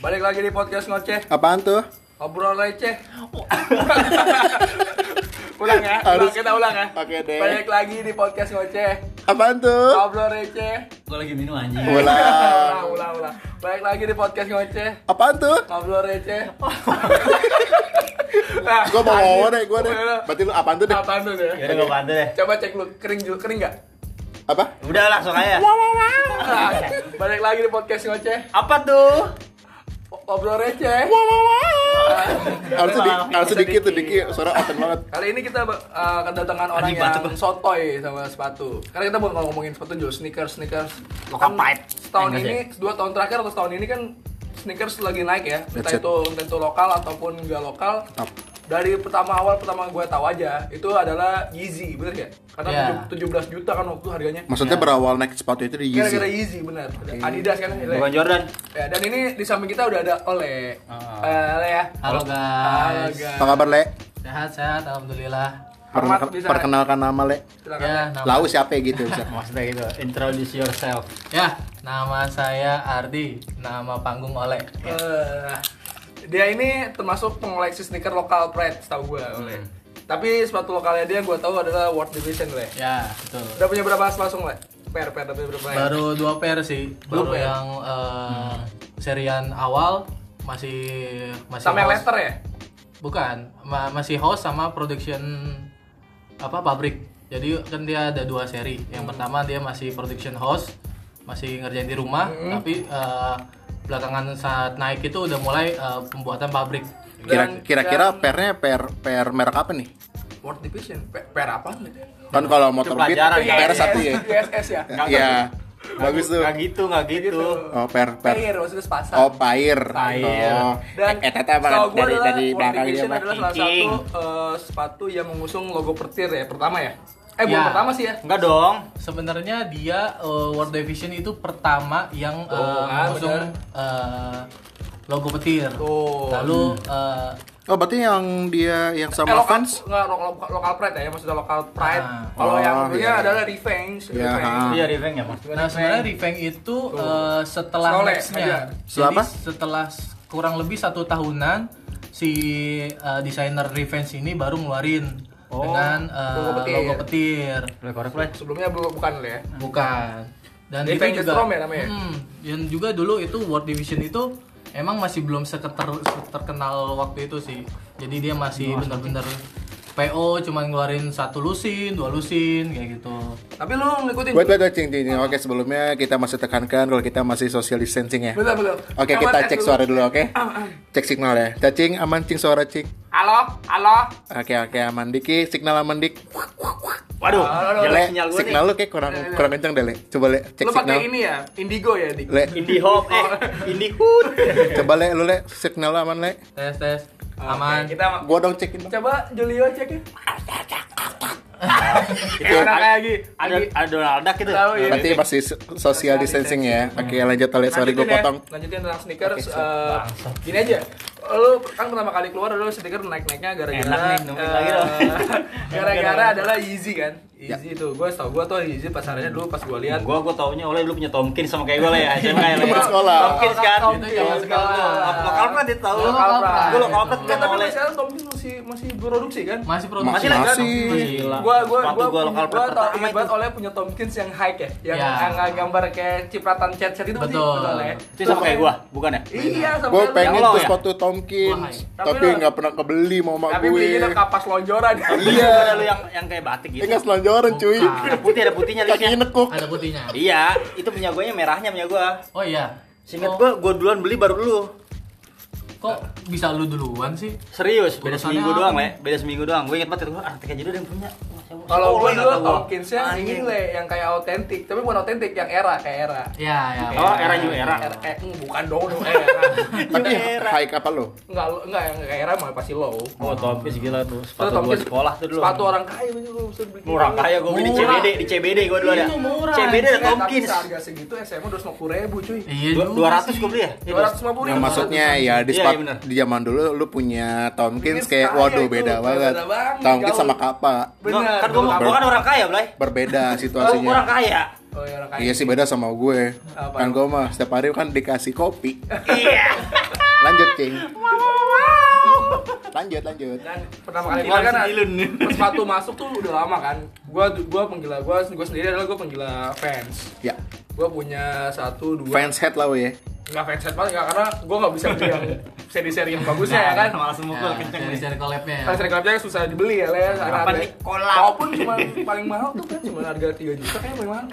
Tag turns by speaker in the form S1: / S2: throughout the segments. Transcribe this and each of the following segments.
S1: Balik lagi di podcast ngoceh,
S2: Apaan tuh?
S1: obrol receh. ulang ya, ulang,
S2: Harus-
S1: kita ulang ya.
S2: Oke deh.
S1: Balik lagi di podcast ngoceh,
S2: Apaan tuh?
S1: obrol receh.
S3: Gue lagi minum anjing.
S2: Bola.
S1: Ulang, ulang, ulang. Balik lagi di podcast ngoceh,
S2: Apaan tuh?
S1: obrol receh. nah,
S2: Gue mau
S1: anjing.
S2: ngomong deh, gue deh.
S1: Udah,
S2: Berarti lu apaan tuh deh?
S1: Apaan tuh deh?
S3: Yaudah gue bantu deh.
S1: Coba cek lu kering juga, kering nggak?
S2: Apa?
S3: Udah ya. langsung aja.
S1: Nah, balik lagi di podcast ngoceh,
S3: Apa tuh?
S1: o- Nah. obrol receh.
S2: Harusnya di,
S3: Maaf,
S2: harusnya dikit tuh,
S3: sedikit.
S2: dikit. Suara open banget.
S1: Kali ini kita uh, kedatangan orang
S3: Anjing,
S1: yang
S3: batuk, Bang.
S1: sotoy sama sepatu. Karena kita bukan ngomongin sepatu dulu, sneakers, sneakers. Kan
S3: Lokal pahit.
S1: Setahun
S3: Enggak
S1: ini, dua tahun terakhir atau setahun ini kan sneakers lagi naik ya. Entah
S2: That's it.
S1: itu, entah itu lokal ataupun nggak lokal.
S2: Tetap.
S1: Dari pertama awal, pertama gue tahu aja, itu adalah Yeezy, bener ya? Karena
S3: Ya.
S1: tujuh 17 juta kan waktu harganya.
S2: Maksudnya berawal naik sepatu itu di
S1: Kira-kira Yeezy,
S2: Yeezy.
S1: bener. Adidas kan? Ile.
S3: Bukan Jordan.
S1: Ya, dan ini di samping kita udah ada Ole.
S3: Ah.
S1: Eh, Ole ya.
S4: Halo
S1: Halo,
S4: guys.
S1: guys.
S2: Apa kabar, Le?
S4: Sehat sehat alhamdulillah.
S2: Perkenal-
S1: Ahmad bisa.
S2: Perkenalkan nama, Le.
S1: Silakan.
S4: Ya, nama,
S2: Lau siapa ya gitu bisa.
S3: Maksudnya gitu, introduce yourself.
S4: ya, nama saya Ardi, nama panggung Oleh.
S2: Ya.
S1: Eh, dia ini termasuk pengoleksi sneaker lokal pride setahu gue
S2: Hmm.
S1: oleh tapi sepatu lokalnya dia gue tahu adalah World Division oleh
S4: Ya, betul.
S1: udah punya berapa langsung oleh per per tapi berapa ya?
S4: Baru dua pair sih.
S1: Dua
S4: Baru
S1: pair.
S4: yang eh, serian awal masih masih
S1: sama yang
S4: house.
S1: letter ya
S4: Bukan, ma- masih host sama production apa pabrik. Jadi kan dia ada dua seri. Yang
S1: Hmm.
S4: pertama dia masih production host, masih ngerjain di rumah,
S1: Hmm.
S4: tapi eh, belakangan saat naik itu udah mulai eh, pembuatan pabrik.
S2: Kira- Kira-kira pernya per per merek apa nih?
S1: World Division per, per apa Iya, gitu
S2: Kan kalau motor beat,
S3: pelajaran, ya.
S2: per satu ya.
S1: ISS ya
S2: Iya. Bagus tuh.
S3: Gak gitu, gak gitu.
S2: Oh, per per.
S1: Pair, maksudnya sepasang
S2: Oh, pair.
S3: Pair.
S2: Oh.
S1: Iya. dan
S2: Eh,
S1: setahu
S2: tata banget
S1: gua
S2: dari
S1: adalah
S2: dari
S1: World
S2: belakang dia
S1: Division
S2: Pak.
S1: adalah salah satu
S3: Cing.
S1: eh, sepatu yang mengusung logo petir ya pertama ya eh bukan
S4: Ya.
S1: pertama sih ya
S3: Enggak dong.
S4: Sebenarnya dia uh, World Division itu pertama yang
S1: Oh,
S4: uh,
S1: ah,
S4: mengusung
S1: bener.
S4: uh, logo petir.
S1: Tuh. Hmm.
S4: Lalu uh,
S2: Oh, berarti yang dia
S1: eh,
S2: yang sama
S1: lokal,
S2: fans
S1: nggak, lo- lo- lokal pride ya, maksudnya lokal pride.
S4: Ah.
S1: Kalau yang
S2: Oh,
S1: dulunya
S2: iya.
S1: adalah revenge.
S2: Iya,
S1: revenge.
S2: Ah.
S3: Iya, revenge ya, Mas.
S4: nah sebenarnya Revenge itu uh, setelah
S1: Soleh aja.
S4: nextnya,
S2: Setelah
S4: jadi
S2: apa?
S4: setelah s- kurang lebih satu tahunan si uh, desainer Revenge ini baru ngeluarin
S3: Oh,
S4: dengan uh,
S1: logo
S4: logo
S1: petir.
S4: petir.
S3: Boleh korek, eh. boleh.
S1: Sebelumnya belum bukan lo
S3: Nah.
S1: ya.
S4: Bukan. Dan
S1: Jadi Vengeance
S4: itu juga
S1: Storm ya namanya?
S4: Mm, dan juga dulu itu World Division itu emang masih belum seketer terkenal waktu itu sih. Jadi dia masih benar-benar PO cuman ngeluarin satu lusin, dua lusin kayak gitu.
S1: Tapi lu ngikutin.
S2: Wait, wait, wait, cing, cing, cing. Oke, sebelumnya kita masih tekankan kalau kita masih social distancing ya.
S1: Betul, betul.
S2: Oke,
S1: Coba
S2: kita
S1: tes
S2: cek
S1: dulu. Ah,
S2: suara dulu, oke?
S1: Am, am.
S2: Cek signal ya. Cacing, aman, cing, suara, cing.
S1: Halo, halo.
S2: Oke, oke, aman, Diki. Signal aman, Dik.
S3: Waduh, jelek
S2: Le,
S3: sinyal gue nih.
S2: signal lu kayak kurang, kurang kenceng deh, Le. Coba, Le, cek
S1: Iya, lu pakai
S2: signal.
S1: ini ya, indigo ya, Dik.
S2: Le,
S3: Indie hop, eh, indie hood.
S2: coba, Le, lu, Le. Signal lu aman, Le.
S4: Tes tes
S1: Oke,
S4: aman.
S1: kita ma-
S2: Gua dong cekin. dong.
S1: coba Julio cek ya.
S3: Itu
S1: Enak lagi.
S3: ada
S1: Lagi.
S3: ada gitu. Donald Duck itu.
S1: Tahu ya.
S2: Berarti masih social distancing ya. Oke, lanjut, Le. Sorry, gue
S1: Lanjutin ya,
S2: potong.
S1: Lanjutin tentang sneakers.
S2: Oke,
S1: eh, gini aja. Lu kan pertama kali keluar dulu sneaker naik-naiknya
S3: Enak
S1: gara-gara
S3: nih, nemuin lagi dong.
S1: eh, gara-gara adalah Yeezy kan.
S2: Ya.
S1: Yeezy itu gue tau gue tuh Yeezy pasarannya dulu pas gue lihat
S3: Nah, Gua gua taunya oleh lu punya Tomkins sama kayak gue lah ya, SMA ya.
S2: Teman
S3: Le.
S2: sekolah.
S3: Tomkins kan.
S1: Tomkins,
S3: Itu zaman sekolah.
S1: sekolah.
S3: Lokal pernah dia tahu.
S4: Lokal pernah.
S3: Gua lokal
S1: Nggak,
S3: pernah
S1: Gitu.
S3: ketemu
S1: tapi
S3: oleh.
S1: sekarang Tomkins masih masih produksi kan?
S4: Masih produksi.
S3: Masih
S2: lah, kan?
S3: Gila.
S1: Gua gua
S3: Sepatu
S1: gua
S3: gua lokal
S1: gua
S3: pertama
S1: tau
S3: itu.
S1: ingat banget oleh punya Tomkins yang high ya, yang
S4: Ya.
S1: yang nggak gambar kayak cipratan cat cat itu sih,
S4: Betul.
S1: ya.
S3: Itu sama kayak gua, bukan ya?
S1: Iya, sama
S2: Gue
S1: kayak lu.
S2: pengen
S3: Yang lo
S2: tuh
S3: ya?
S2: sepatu Tomkins,
S1: Tapi
S2: tapi
S1: lo-
S2: nggak pernah kebeli mau mak
S1: Tapi belinya
S2: gue.
S1: udah kapas lonjoran.
S3: Iya. Ada lu yang yang kayak batik gitu.
S2: Ini nggak selonjoran, cuy.
S4: Bukan.
S3: Ada putih, ada putihnya
S2: Kakinya
S3: listnya.
S2: nekuk.
S4: Ada putihnya.
S3: Iya, itu punya gue merahnya punya gue.
S4: Oh iya.
S3: Singkat
S4: Kok-
S3: gue, gue duluan beli baru lu.
S4: Kok bisa lu duluan sih?
S3: Serius, beda
S4: Urusannya
S3: seminggu
S1: ya.
S4: apa?
S3: doang, Le. Beda seminggu doang. Gue inget banget "Ah, gue artikel aja dulu yang punya. Wah, siapa-
S1: Kalau
S3: siapa
S1: gue
S3: yang
S1: dulu
S3: kata gua?
S1: Tomkinsnya
S3: Anjing.
S1: ini le yang kayak autentik, tapi bukan autentik yang era kayak era.
S4: Ya ya.
S3: Oh, era new era.
S1: Era, eh, bukan dong, dong era.
S2: Tapi high apa lo?
S1: Enggak, lo- enggak yang kayak era mah pasti low.
S3: Oh, Tomkins gila tuh.
S1: Terus
S3: Sepatu gue
S1: Tomkins,
S3: sekolah tuh dulu.
S1: Sepatu orang kaya itu gue bisa beli.
S3: murah kaya gue beli di
S4: Murah.
S3: CBD, di CBD gue dulu ada.
S4: Itu murah,
S3: CBD ada
S1: Eh, Tapi
S3: Tomkins.
S1: seharga segitu SMA udah 50 ribu cuy.
S4: Iya
S3: Dua-
S4: juga
S3: 200
S4: sih.
S3: gue beli ya? Iya,
S1: Dua ratus lima puluh
S2: Nah, maksudnya ya di
S3: Iya,
S2: sepatu
S3: iya bener.
S2: di zaman dulu lu punya Tomkins
S1: Tomkins
S2: kayak
S1: kaya
S2: waduh
S1: itu,
S2: beda
S1: beda
S2: banget.
S1: banget,
S2: Tomkins
S1: jauh.
S2: sama Kappa.
S3: Gua-
S1: Bener.
S3: kan gua, mau- gua kan orang kaya Blay
S2: Berbeda
S3: Gua orang
S2: situasinya.
S3: kaya
S1: Oh iya orang kaya.
S2: Iya sih beda sama gue.
S1: Apa?
S2: Kan gue mah setiap hari kan dikasih kopi.
S3: iya
S2: Lanjut, Cing. Lanjut, lanjut.
S1: Dan pertama kali gua
S3: Hilang
S1: kan
S3: sembilun.
S1: pas sepatu masuk tuh udah lama kan. Gua gua penggila gua gua sendiri adalah gua penggila fans.
S2: Ya,
S1: Gua punya satu dua
S2: fans head lah we ya.
S1: nggak fanset banget nggak karena gue nggak bisa beli yang seri-seri yang bagusnya ya kan
S3: malah semukul kenceng
S4: dari
S3: nih
S4: dari collabnya ya.
S1: kalau seri klubnya susah dibeli ya le Ada-
S3: Apa
S1: ada-
S3: nih, kolak?
S1: walaupun cuma paling mahal tuh kan cuma harga 3 juta kayaknya paling mahal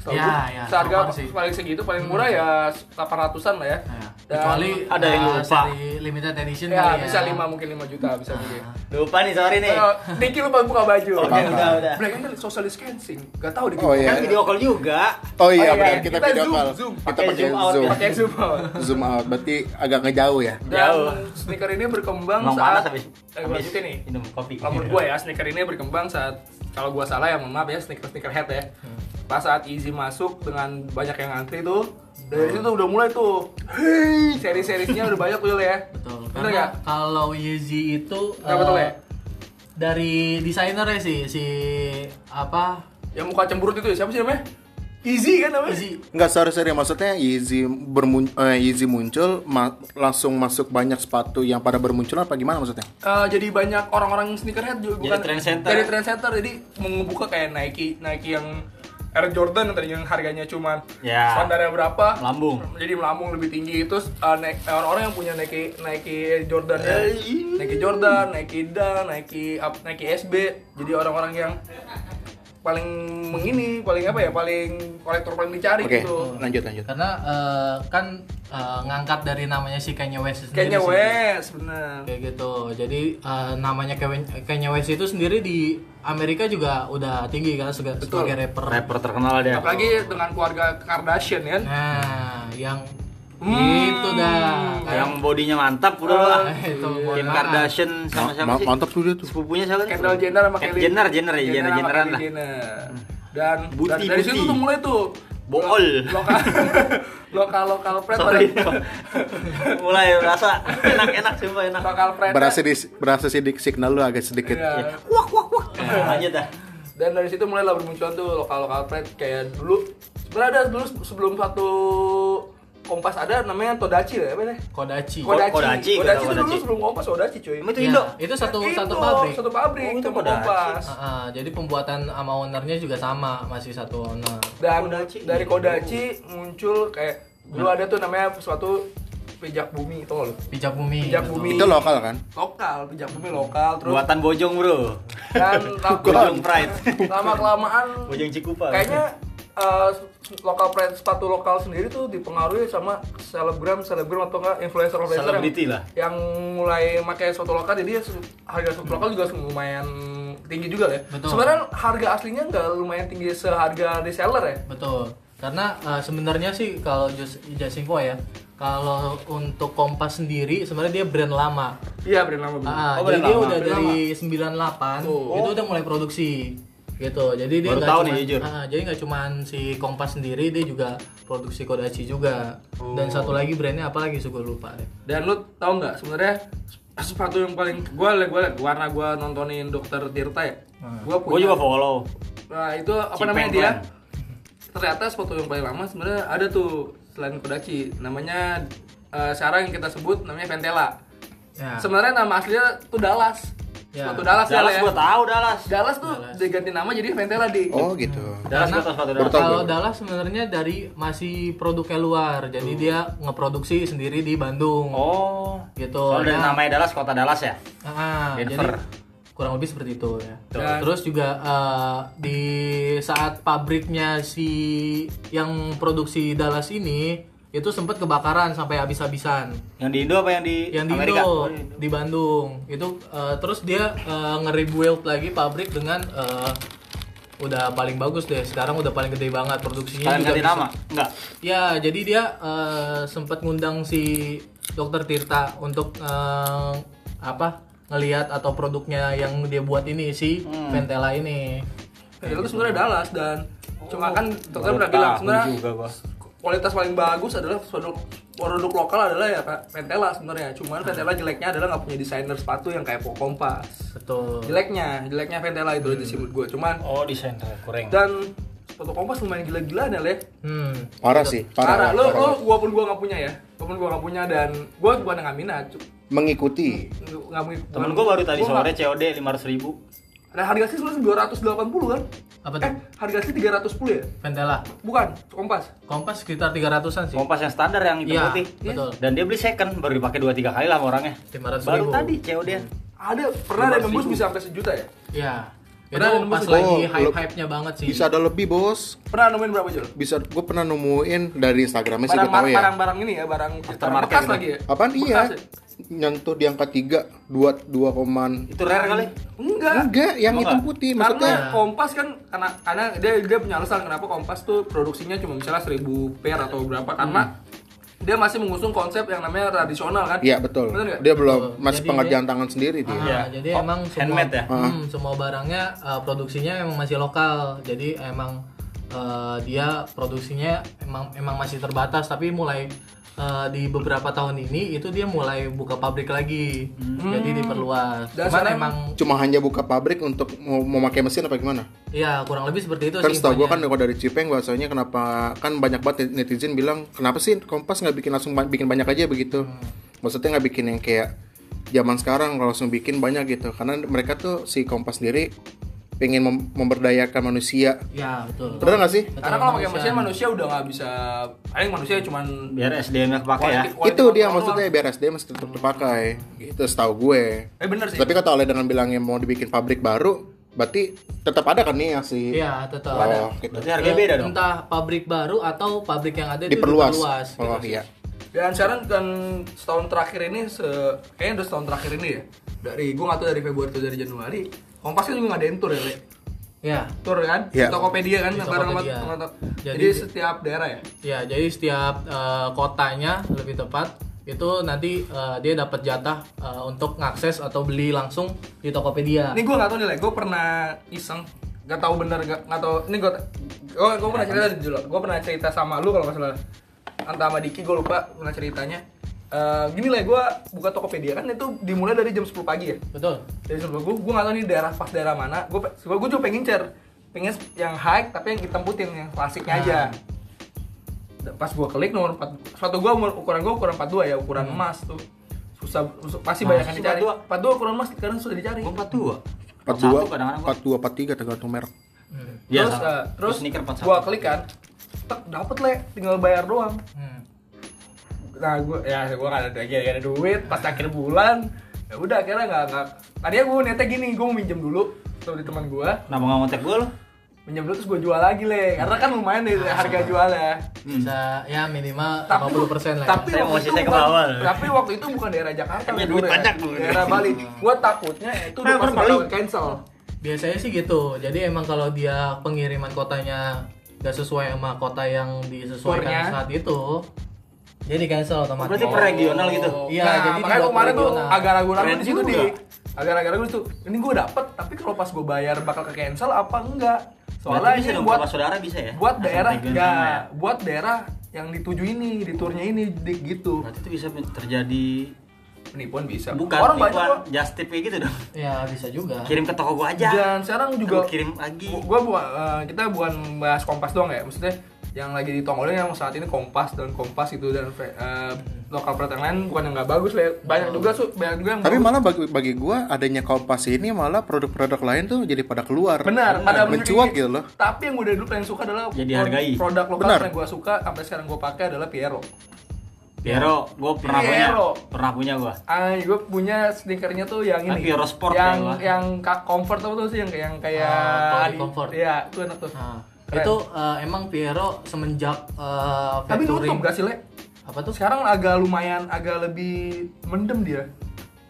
S1: Setahu
S4: Ya,
S1: gua,
S4: ya,
S1: seharga
S4: apaan sih?
S1: paling segitu paling murah ya 800-an lah ya
S4: Nah,
S1: Dan-
S4: kecuali
S3: ada yang
S4: uh,
S3: lupa.
S4: seri limited edition
S1: ya
S4: kali ya. Ah.
S1: bisa 5 mungkin 5 juta bisa mungkin
S3: lupa nih sorry nih
S1: Eh, Diki lupa buka baju.
S3: oke
S2: apa-apa.
S3: udah udah
S1: Black and social distancing. Gak tau Diki.
S2: Oh, iya.
S3: kan video call juga
S2: Oh iya,
S1: Oh, iya.
S2: benar kita,
S1: Kita
S2: video
S1: zoom,
S2: call.
S1: zoom.
S2: Kita
S3: Pakai
S2: pakai
S3: zoom out
S2: zoom.
S1: Pakai zoom out.
S2: Zoom out berarti agak ngejauh ya.
S1: Dan
S3: Jauh.
S1: sneaker ini berkembang
S3: Emang
S1: saat
S3: panas habis
S1: Eh, gua lanjutin nih.
S3: minum kopi
S1: Kalau menurut gue ya, sneaker ini berkembang saat kalau gue salah ya mohon maaf ya sneaker sneaker head ya.
S2: Hmm.
S1: Pas saat Easy masuk dengan banyak yang ngantri tuh, dari situ udah mulai tuh, hei seri-serinya udah banyak tuh ya.
S4: Betul.
S1: Bener
S4: Karena
S1: nggak?
S4: kalau Yeezy itu eh,
S1: Nggak betul ya?
S4: dari desainernya sih si apa
S1: Yang muka cemberut itu ya, siapa sih namanya? Easy kan namanya?
S4: Yeezy
S2: Enggak sorry sorry maksudnya Yeezy bermun eh, Yeezy muncul ma- langsung masuk banyak sepatu yang pada bermunculan apa gimana maksudnya?
S1: Eh, jadi banyak orang-orang sneakerhead juga
S3: Jadi trendsetter.
S1: Jadi trendsetter, jadi membuka kayak Nike, Nike yang Air Jordan yang tadinya harganya cuman
S3: Ya.
S1: standarnya berapa
S3: Melambung.
S1: jadi melambung lebih tinggi terus eh, Nike- eh, orang-orang yang punya Nike Nike Jordan ya.
S3: Eh, iya.
S1: Nike Jordan, Nike Dan, Nike up, Nike SB jadi orang-orang yang paling mengini paling apa ya paling kolektor paling dicari
S2: Oke,
S1: gitu
S3: Hmm.
S2: lanjut lanjut.
S4: karena eh, kan eh, ngangkat dari namanya si Kanye West sendiri
S1: kayaknya
S4: sih.
S1: West bener
S4: kayak gitu jadi eh, namanya Kanye Kanye West itu sendiri di Amerika juga udah tinggi kan sega-
S1: Betul.
S4: sebagai rapper
S3: rapper terkenal dia
S1: apalagi dengan keluarga Kardashian kan
S4: nah yang
S1: Hmm.
S4: itu dah kan?
S3: yang bodinya mantap udah
S1: Oh,
S3: lah
S1: iya,
S4: itu
S3: Kim
S4: mohon maaf.
S3: Kardashian sama
S2: Ma-
S3: siapa
S2: ma-
S3: sih
S2: mantap tuh dia tuh.
S3: sepupunya siapa tuh?
S1: Kan Kendall Jenner sama Kylie
S3: Jenner Jenner ya Jenner
S1: sama
S3: Jenneran
S1: Kylie
S3: lah
S1: Jenner. Dan,
S3: Buti,
S1: dan dari
S3: buti.
S1: situ tuh mulai tuh
S3: Bool.
S1: lokal lokal lokal pret
S3: sorry mulai rasa enak enak sumpah enak
S1: lokal pret
S2: Berasa di berasa sih di- signal lu agak sedikit.
S1: Iya.
S3: wak wak wak lanjut dah
S1: dan dari situ mulai lah bermunculan tuh lokal lokal pret kayak dulu sebenarnya ada dulu sebelum satu kompas ada namanya Todachi lah ya apa ya?
S4: Kodachi
S1: Kodachi.
S3: Kodachi,
S1: Kodachi,
S3: Kodachi.
S1: itu dulu sebelum kompas Kodachi cuy.
S3: Emang itu
S4: Ya,
S3: Indo
S4: itu satu
S1: Indo,
S4: satu pabrik
S1: Satu pabrik
S3: Oh, itu
S1: itu
S3: Kodachi.
S1: kompas.
S4: Ah, ah, jadi pembuatan sama ownernya juga sama masih satu owner
S1: dan
S3: Kodachi.
S1: dari Kodachi muncul kayak dulu ada tuh namanya suatu pijak bumi tau gak lu?
S4: pijak bumi
S1: Pijak
S4: gitu.
S1: bumi.
S2: Itu lokal kan?
S1: lokal pijak bumi lokal terus
S3: buatan Bojong bro
S1: dan
S3: Bojong Pride
S1: lama kelamaan
S3: Bojong Cikupa
S1: kayaknya eh, lokal brand sepatu lokal sendiri tuh dipengaruhi sama selebgram selebgram atau enggak influencer influencer
S3: Selebriti lah.
S1: yang mulai pakai sepatu lokal jadi ya se- harga sepatu lokal juga lumayan tinggi juga lah ya
S4: Betul.
S1: sebenarnya harga aslinya nggak lumayan tinggi seharga reseller ya
S4: Betul. Karena eh, sebenarnya sih kalau Jus- Jasinko ya, kalau untuk Kompas sendiri sebenarnya dia brand lama.
S1: iya brand lama bener.
S4: Ah,
S3: Oh,
S4: jadi
S3: brand
S4: dia
S3: lama. Oh.
S4: udah
S1: Brand
S4: dari 98
S1: Tuh.
S4: itu udah mulai produksi gitu. Jadi dia
S3: Baru
S4: nggak
S3: tahu
S4: cuman-
S3: nih, jujur.
S4: ah, jadi nggak cuman si Kompas sendiri, dia juga produksi Kodachi juga.
S3: Oh.
S4: Dan satu lagi brandnya apa lagi? Suka lupa deh.
S1: Dan lu tau nggak sebenarnya sepatu yang paling gua liat gua liat warna gua nontonin dokter Tirta ya. Gua
S3: gue
S1: punya.
S3: juga follow
S1: Nah itu apa
S3: Cipeng
S1: namanya dia?
S3: Plan.
S1: Ternyata sepatu yang paling lama sebenarnya ada tuh selain Kodachi. Namanya eh, sekarang yang kita sebut namanya Ventela.
S4: Ya.
S1: Sebenarnya nama aslinya tuh Dallas.
S4: Ya.
S1: Sepatu Dallas,
S3: Dallas
S1: ya.
S3: gue tahu Dallas
S1: Dallas tulas tuh diganti nama jadi Ventela di.
S2: Oh gitu.
S3: Dallas
S4: Karena-
S3: gue tahu sepatu
S2: Baru
S3: Dallas
S2: tahu
S4: Kalau
S2: gue.
S4: Dallas sebenarnya dari masih produknya luar, jadi dia ngeproduksi sendiri di
S3: Hmm.
S4: Bandung.
S3: oh
S4: Gitu.
S3: soalnya dari
S4: Nah,
S3: namanya Dallas kota Dallas ya
S4: Ah,
S3: Denver.
S4: jadi kurang lebih seperti itu ya.
S1: Dan-
S4: Terus juga eh, di saat pabriknya si yang produksi Dallas ini itu sempat kebakaran sampai habis-habisan.
S3: yang di Indo apa yang di
S4: Yang di
S3: Amerika
S4: Indo,
S3: Oh, di Indo.
S4: di Bandung. Itu eh, terus dia eh, nge-rebuild lagi pabrik dengan eh, udah paling bagus deh. Sekarang udah paling gede banget produksinya.
S3: kalian
S4: juga
S3: ganti
S4: bisa-
S3: nama enggak
S4: Ya, jadi dia eh, sempat ngundang si Dokter Tirta untuk eh, apa? ngelihat atau produknya yang dia buat ini si
S2: Hmm.
S4: Ventela ini.
S1: Ventela tuh Ya, sebenarnya Dallas dan cuma kan dokter
S3: Baru
S1: pernah bilang
S3: tahu
S1: sebenarnya
S3: juga gua
S1: kualitas paling bagus adalah produk produk
S3: Ah.
S1: lokal adalah ya Ventela sebenarnya. Cuman Ventela jeleknya adalah nggak punya desainer sepatu yang kayak Kompas.
S4: betul
S1: jeleknya jeleknya Ventela itu aja sih menurut gue cuman
S3: Oh, desain kurang.
S1: dan sepatu kompas lumayan gila-gilaan ya leh
S4: hmm.
S2: Parah sih,
S1: parah
S2: parah.
S1: lo
S2: parah.
S1: lo gua pun gua nggak punya ya gua pun gua nggak punya dan gua bukan nggak minat cu-
S2: Mengikuti.
S1: nggak mungkin
S3: Temen gua baru tadi
S1: nggak-
S3: sore COD 500 ribu.
S1: Nah, harga sih sebenarnya 280 kan?
S4: apa tuh
S1: Eh, harga sih 310 ya?
S4: Ventela
S1: Bukan, kompas.
S4: kompas sekitar 300an sih
S3: Kompas yang standar yang hitam
S4: iya
S3: putih.
S4: betul
S3: Dan dia beli second baru dipakai 2 3 kali lah sama orangnya.
S4: 500
S3: Baru
S4: ribu.
S3: tadi COD.
S1: Ada pernah ada yang
S3: 500.000.
S1: nembus bisa sampai sejuta ya?
S4: Iya. Itu
S1: Padahal
S4: pas
S1: nembus-
S4: lagi
S2: Oh, lu-
S4: hype-hype-nya banget sih.
S2: Bisa ada lebih, Bos.
S1: Pernah nemuin berapa jual?
S2: Bisa gue pernah nemuin dari Instagramnya sih gue
S1: Barang
S2: tahu ya.
S1: barang, barang ini ya, barang barang
S3: Aftermarket
S1: bekas
S3: gitu.
S1: lagi ya?
S2: Apaan
S1: Bekas
S2: iya?
S1: ya?
S2: Nyentuh di angka 3, 2 2 koman.
S3: Itu rare kali.
S1: Enggak.
S2: Enggak, yang
S3: Emang
S2: hitam
S3: nggak?
S2: putih
S1: Karena
S2: Iya, maksudnya.
S1: kompas kan karena, karena dia dia punya alasan kenapa kompas tuh produksinya cuma misalnya 1000 pair atau berapa karena dia masih mengusung konsep yang namanya tradisional kan?
S2: Hmm. Iya, betul.
S1: Bener nggak?
S2: Dia belum
S4: Betul.
S2: masih
S4: Jadi
S2: pengerjaan tangan sendiri
S4: Ah,
S2: dia.
S3: Iya.
S4: Jadi
S3: Oh,
S4: emang semua
S3: handmade ya?
S2: Ah.
S4: Hmm, semua barangnya eh, produksinya emang masih lokal. Jadi emang eh, dia produksinya emang emang masih terbatas tapi mulai eh, di beberapa tahun ini itu dia mulai buka pabrik lagi.
S2: Hmm.
S4: Jadi diperluas.
S1: Dan
S4: Cuman
S1: sekarang-
S4: emang
S2: Cuma hanya buka pabrik untuk mau, mau pakai mesin apa gimana?
S4: ya kurang lebih seperti itu
S2: Kan
S4: sih.
S2: setahu gue kan
S4: infonya.
S2: kalau dari Cipeng bahasanya kenapa kan banyak banget netizen bilang kenapa sih Kompas nggak bikin langsung ba- bikin banyak aja begitu?
S4: Hmm.
S2: Maksudnya nggak bikin yang kayak zaman sekarang kalau langsung bikin banyak gitu karena mereka tuh si Kompas sendiri pengen mem- memberdayakan manusia.
S4: Ya, betul.
S2: Bener nggak sih?
S1: Karena kalau pakai mesin manusia udah nggak bisa, paling manusia cuman
S3: Biar SDM-nya kepake ya.
S1: quality- quality
S2: itu dia
S1: control
S2: maksudnya biar SDM masih tetap dipakai. Gitu setahu gue.
S1: Eh bener sih.
S2: Tapi kata oleh dengan bilangnya mau dibikin pabrik baru, berarti tetap ada kan nih yang si
S4: Iya, tetap.
S2: Oh, gitu.
S3: Berarti harganya beda dong.
S4: Entah pabrik baru atau pabrik yang ada itu
S2: diperluas.
S4: diperluas, gitu
S2: Oh
S4: sih.
S2: iya.
S1: Dan sekarang kan setahun terakhir ini, se kayaknya udah setahun terakhir ini ya. Dari gue nggak tahu dari Februari atau dari Januari. Kompas kan juga ngadain tour ya, Le?
S4: Ya,
S1: Tour kan? Di
S2: Iya.
S1: Tokopedia kan?
S4: Di
S1: bareng sama-
S4: Tokopedia.
S1: sama- sama- Jadi,
S4: Jadi-
S1: setiap daerah ya?
S4: Ya, jadi setiap eh, kotanya lebih tepat itu nanti eh, dia dapat jatah eh, untuk ngakses atau beli langsung di Tokopedia.
S1: Ini gue nggak tahu nih, Le. Gue pernah iseng. Gak tahu bener, gak, nggak tahu. Ini gue, gue, pernah cerita di dulu. Gue pernah cerita sama lu kalau nggak salah. Antara sama Diki, gue lupa pernah ceritanya. Eh, gini lah, gue buka Tokopedia kan itu dimulai dari jam 10 pagi ya.
S4: Betul.
S1: dari sebelum gue gue nggak tahu nih daerah pas daerah mana gue gue juga pengen cer pengen yang high tapi yang hitam putih yang klasiknya aja
S3: Ah.
S1: Dan pas gue klik nomor 4 sepatu gue ukuran gue ukuran 42 ya ukuran emas tuh susah sus- pasti banyak yang
S3: Hmm. Masih
S1: dicari
S3: 42?
S1: 42 ukuran emas sekarang sudah dicari
S3: Gua 42.
S2: 42,
S3: 41 kadang-kadang gua.
S2: 42, 43 tergantung merek.
S3: Iya,
S1: terus
S3: sama.
S1: eh, terus
S3: sneaker 41.
S1: gue klik kan tek dapet le tinggal bayar doang
S4: Hmm.
S1: nah gue ya gue gak ada lagi gak ada duit pas akhir bulan ya udah akhirnya nggak nggak tadinya gue niatnya gini gue mau minjem dulu sama di teman gue
S3: Kenapa nggak ngontek gua lu?
S1: minjem dulu terus gue jual lagi le karena kan lumayan deh
S4: Ah,
S1: harga jualnya
S4: Bisa ya minimal
S1: Hmm. tapi
S4: 50% lah. ya.
S1: tapi
S3: Saya
S1: waktu
S3: emosi
S1: itu
S3: saya ke
S1: bukan-
S3: bawah.
S1: tapi waktu itu bukan daerah Jakarta
S3: Punya
S1: Bro,
S3: duit
S1: ya.
S3: banyak, Bro.
S1: daerah Bali gue takutnya itu udah
S3: Nah,
S1: pas
S3: bener, Bali.
S1: ketahuan cancel
S4: Biasanya sih gitu. Jadi emang kalau dia pengiriman kotanya nggak sesuai sama kota yang disesuaikan
S1: Tournya.
S4: saat itu, dia di cancel otomatis.
S3: Berarti per regional gitu.
S4: Iya,
S1: nah,
S4: jadi
S1: makanya
S4: dibuat
S1: kemarin tuh
S4: regional.
S1: agak ragu-ragu
S3: Keren
S1: di situ gitu, di
S3: juga.
S1: agak ragu-ragu itu ini gue dapet tapi kalau pas gue bayar bakal ke cancel apa enggak soalnya
S3: Berarti bisa
S1: ini
S3: dong,
S1: buat
S3: bapak saudara bisa ya?
S1: buat
S3: Langsung
S1: daerah
S3: regional
S1: enggak
S3: ya.
S1: buat daerah yang dituju ini di turnya ini di, gitu
S3: Berarti itu bisa terjadi
S1: penipuan bisa
S3: Nah. bukan
S1: orang banyak
S3: penipuan,
S1: kok.
S3: just tip kayak gitu dong.
S4: Ya bisa juga.
S3: Kirim ke toko gua aja.
S1: dan sekarang juga
S3: Gua Ya. kirim lagi.
S1: gua bukan eh, kita bukan bahas kompas doang ya maksudnya yang lagi ditongolin yang saat ini kompas dan kompas itu dan eh, lokal pride yang lain bukan yang nggak bagus lah ya. banyak juga su banyak juga yang
S2: Tapi
S1: bagus.
S2: malah bagi bagi gua adanya Kompas ini malah produk-produk lain tuh jadi pada keluar.
S1: benar pada menurut
S2: mencuat
S1: gigi.
S2: gitu loh.
S1: tapi yang gue dari dulu paling suka adalah
S3: Ya, dihargai.
S1: produk lokal
S2: Benar.
S1: yang gue suka sampai sekarang gue pakai adalah Piero
S3: Piero, gua pernah
S1: Piero.
S3: punya. Pernah punya gua.
S1: Ah, gue punya sneakernya tuh yang ini.
S3: Ah, Piero Sport
S1: yang
S3: ya, Wak.
S1: yang ka- comfort apa tuh sih yang yang kayak
S4: Ah, Cloudy
S1: di-
S4: Comfort.
S1: Iya, itu enak tuh.
S3: Ah.
S4: Nah,
S1: Keren.
S4: itu eh, emang Piero semenjak eh,
S1: Tapi nutup
S4: featuring-
S1: gak sih, Le?
S4: apa tuh
S1: Sekarang agak lumayan agak lebih mendem dia.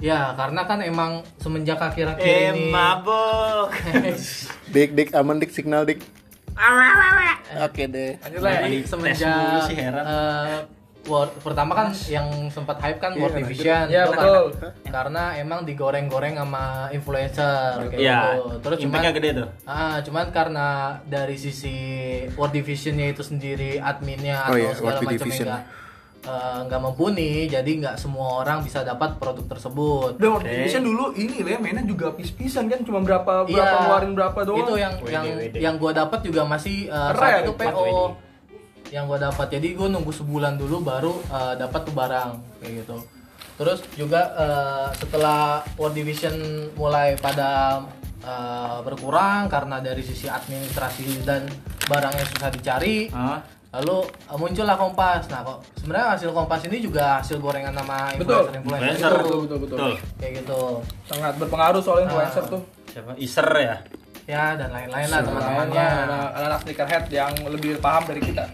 S4: Ya, karena kan emang semenjak akhir-akhir
S3: Eh,
S4: ini.
S3: mabok.
S2: Dik dik aman dik signal dik. Oke deh.
S1: Lanjut lah.
S3: Tes
S4: Jadi
S3: dulu
S4: ya, semenjak
S3: sih, heran.
S4: eh, World- pertama kan yang sempat hype kan World Division
S1: Iya,
S4: itu
S1: betul.
S4: Karena, karena emang digoreng-goreng sama influencer kayak
S3: Iya.
S4: gitu. Terus cuman
S3: impact-nya gede tuh.
S4: Ah, cuman karena dari sisi World Divisionnya itu sendiri adminnya
S2: Oh
S4: atau
S2: iya,
S4: segala
S2: World
S4: macam
S2: Division.
S4: enggak eh, nggak mumpuni jadi nggak semua orang bisa dapat produk tersebut
S1: Dan waktu Indonesian dulu ini lah ya, mainnya juga pis-pisan kan cuma berapa
S4: Iya.
S1: berapa ngeluarin berapa doang.
S4: Itu yang
S3: WD,
S4: yang
S3: WD.
S4: yang gua dapat juga masih
S1: Keren.
S4: uh, saat itu
S1: Empat
S4: PO.
S3: WD.
S4: Yang gua dapat. Jadi gua nunggu sebulan dulu baru uh, dapat tuh barang kayak gitu. Terus juga uh, setelah World Division mulai pada uh, berkurang karena dari sisi administrasi dan barangnya susah dicari.
S3: Hah?
S4: Lalu uh, muncullah Kompas. Nah, kok sebenarnya hasil Kompas ini juga hasil gorengan sama
S1: Betul.
S4: influencer-influencer
S3: Influencer.
S4: itu.
S1: Betul, betul, betul.
S4: kayak gitu.
S1: Sangat berpengaruh soal influencer tuh.
S3: Siapa? Iser ya?
S4: Ya, dan lain-lain lah
S1: Teman-temannya
S4: teman-temannya.
S1: anak-anak sneakerhead yang lebih paham dari kita.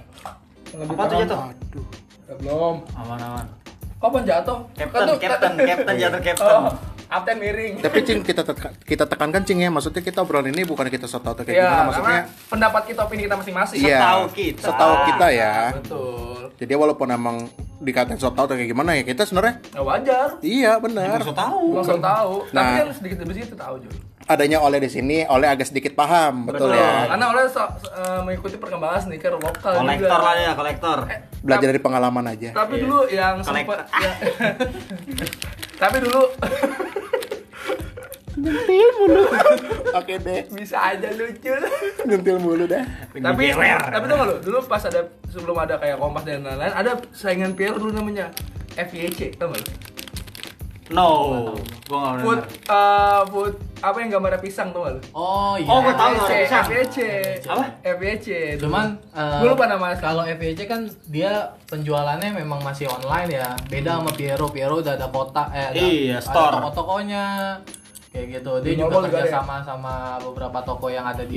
S1: Yang lebih
S3: Apa tuh
S1: paham.
S3: jatuh?
S1: Ya, belum.
S3: Aman-aman.
S1: Kapan jatuh?
S3: Captain,
S1: Kan tuh-
S3: captain, captain jatuh captain.
S1: Oh, kapten miring.
S2: Tapi cing kita teka- kita tekankan cing ya, maksudnya kita obrolan ini bukan kita soto atau kayak
S1: Iya,
S2: gimana
S1: karena
S2: maksudnya.
S1: pendapat kita, opini kita masing-masing.
S2: Iya.
S3: Setahu kita.
S2: Setahu kita ya.
S1: Betul.
S2: Jadi ya walaupun emang dikatain soto atau kayak gimana ya, kita sebenarnya
S1: Ya wajar.
S2: iya benar.
S3: Maksud tahu.
S1: Langsung tahu. Tapi
S2: Nah.
S1: kan sedikit demi sedikit tahu juga.
S2: Adanya oleh di sini, oleh agak sedikit paham, betul, ya.
S1: Karena oleh so- so- eh, mengikuti perkembangan sneaker lokal juga.
S3: Kolektor lah ya, kolektor.
S1: Eh,
S2: Belajar dari pengalaman aja.
S1: Tapi dulu yang sempat
S3: Kolektor.
S1: ya, Tapi dulu
S2: Nyentil mulu. Oke deh,
S1: bisa aja lucu.
S2: nyentil mulu dah.
S1: tapi tapi tuh lu, dulu pas ada sebelum ada kayak kompas dan lain-lain, ada saingan PR dulu namanya FYC, tau gak lu?
S3: No. Gua enggak
S1: Food,
S3: benar.
S1: eh, food apa yang gambarnya pisang tau gak lu? E
S4: Oh iya.
S3: Oh, gua tahu gambar
S1: FYC,
S3: pisang.
S1: FYC,
S3: Apa?
S1: FYC.
S4: Cuman eh,
S1: Gua lupa nama.
S4: Kalau FVC kan dia penjualannya memang masih online ya. Beda sama Piero. Piero udah ada kotak eh ada,
S3: Iya,
S4: ada
S3: store.
S4: toko-tokonya. Kayak gitu. Dia
S1: Di
S4: juga
S1: mall juga
S4: kerja
S1: ada ya?
S4: sama sama beberapa toko yang ada di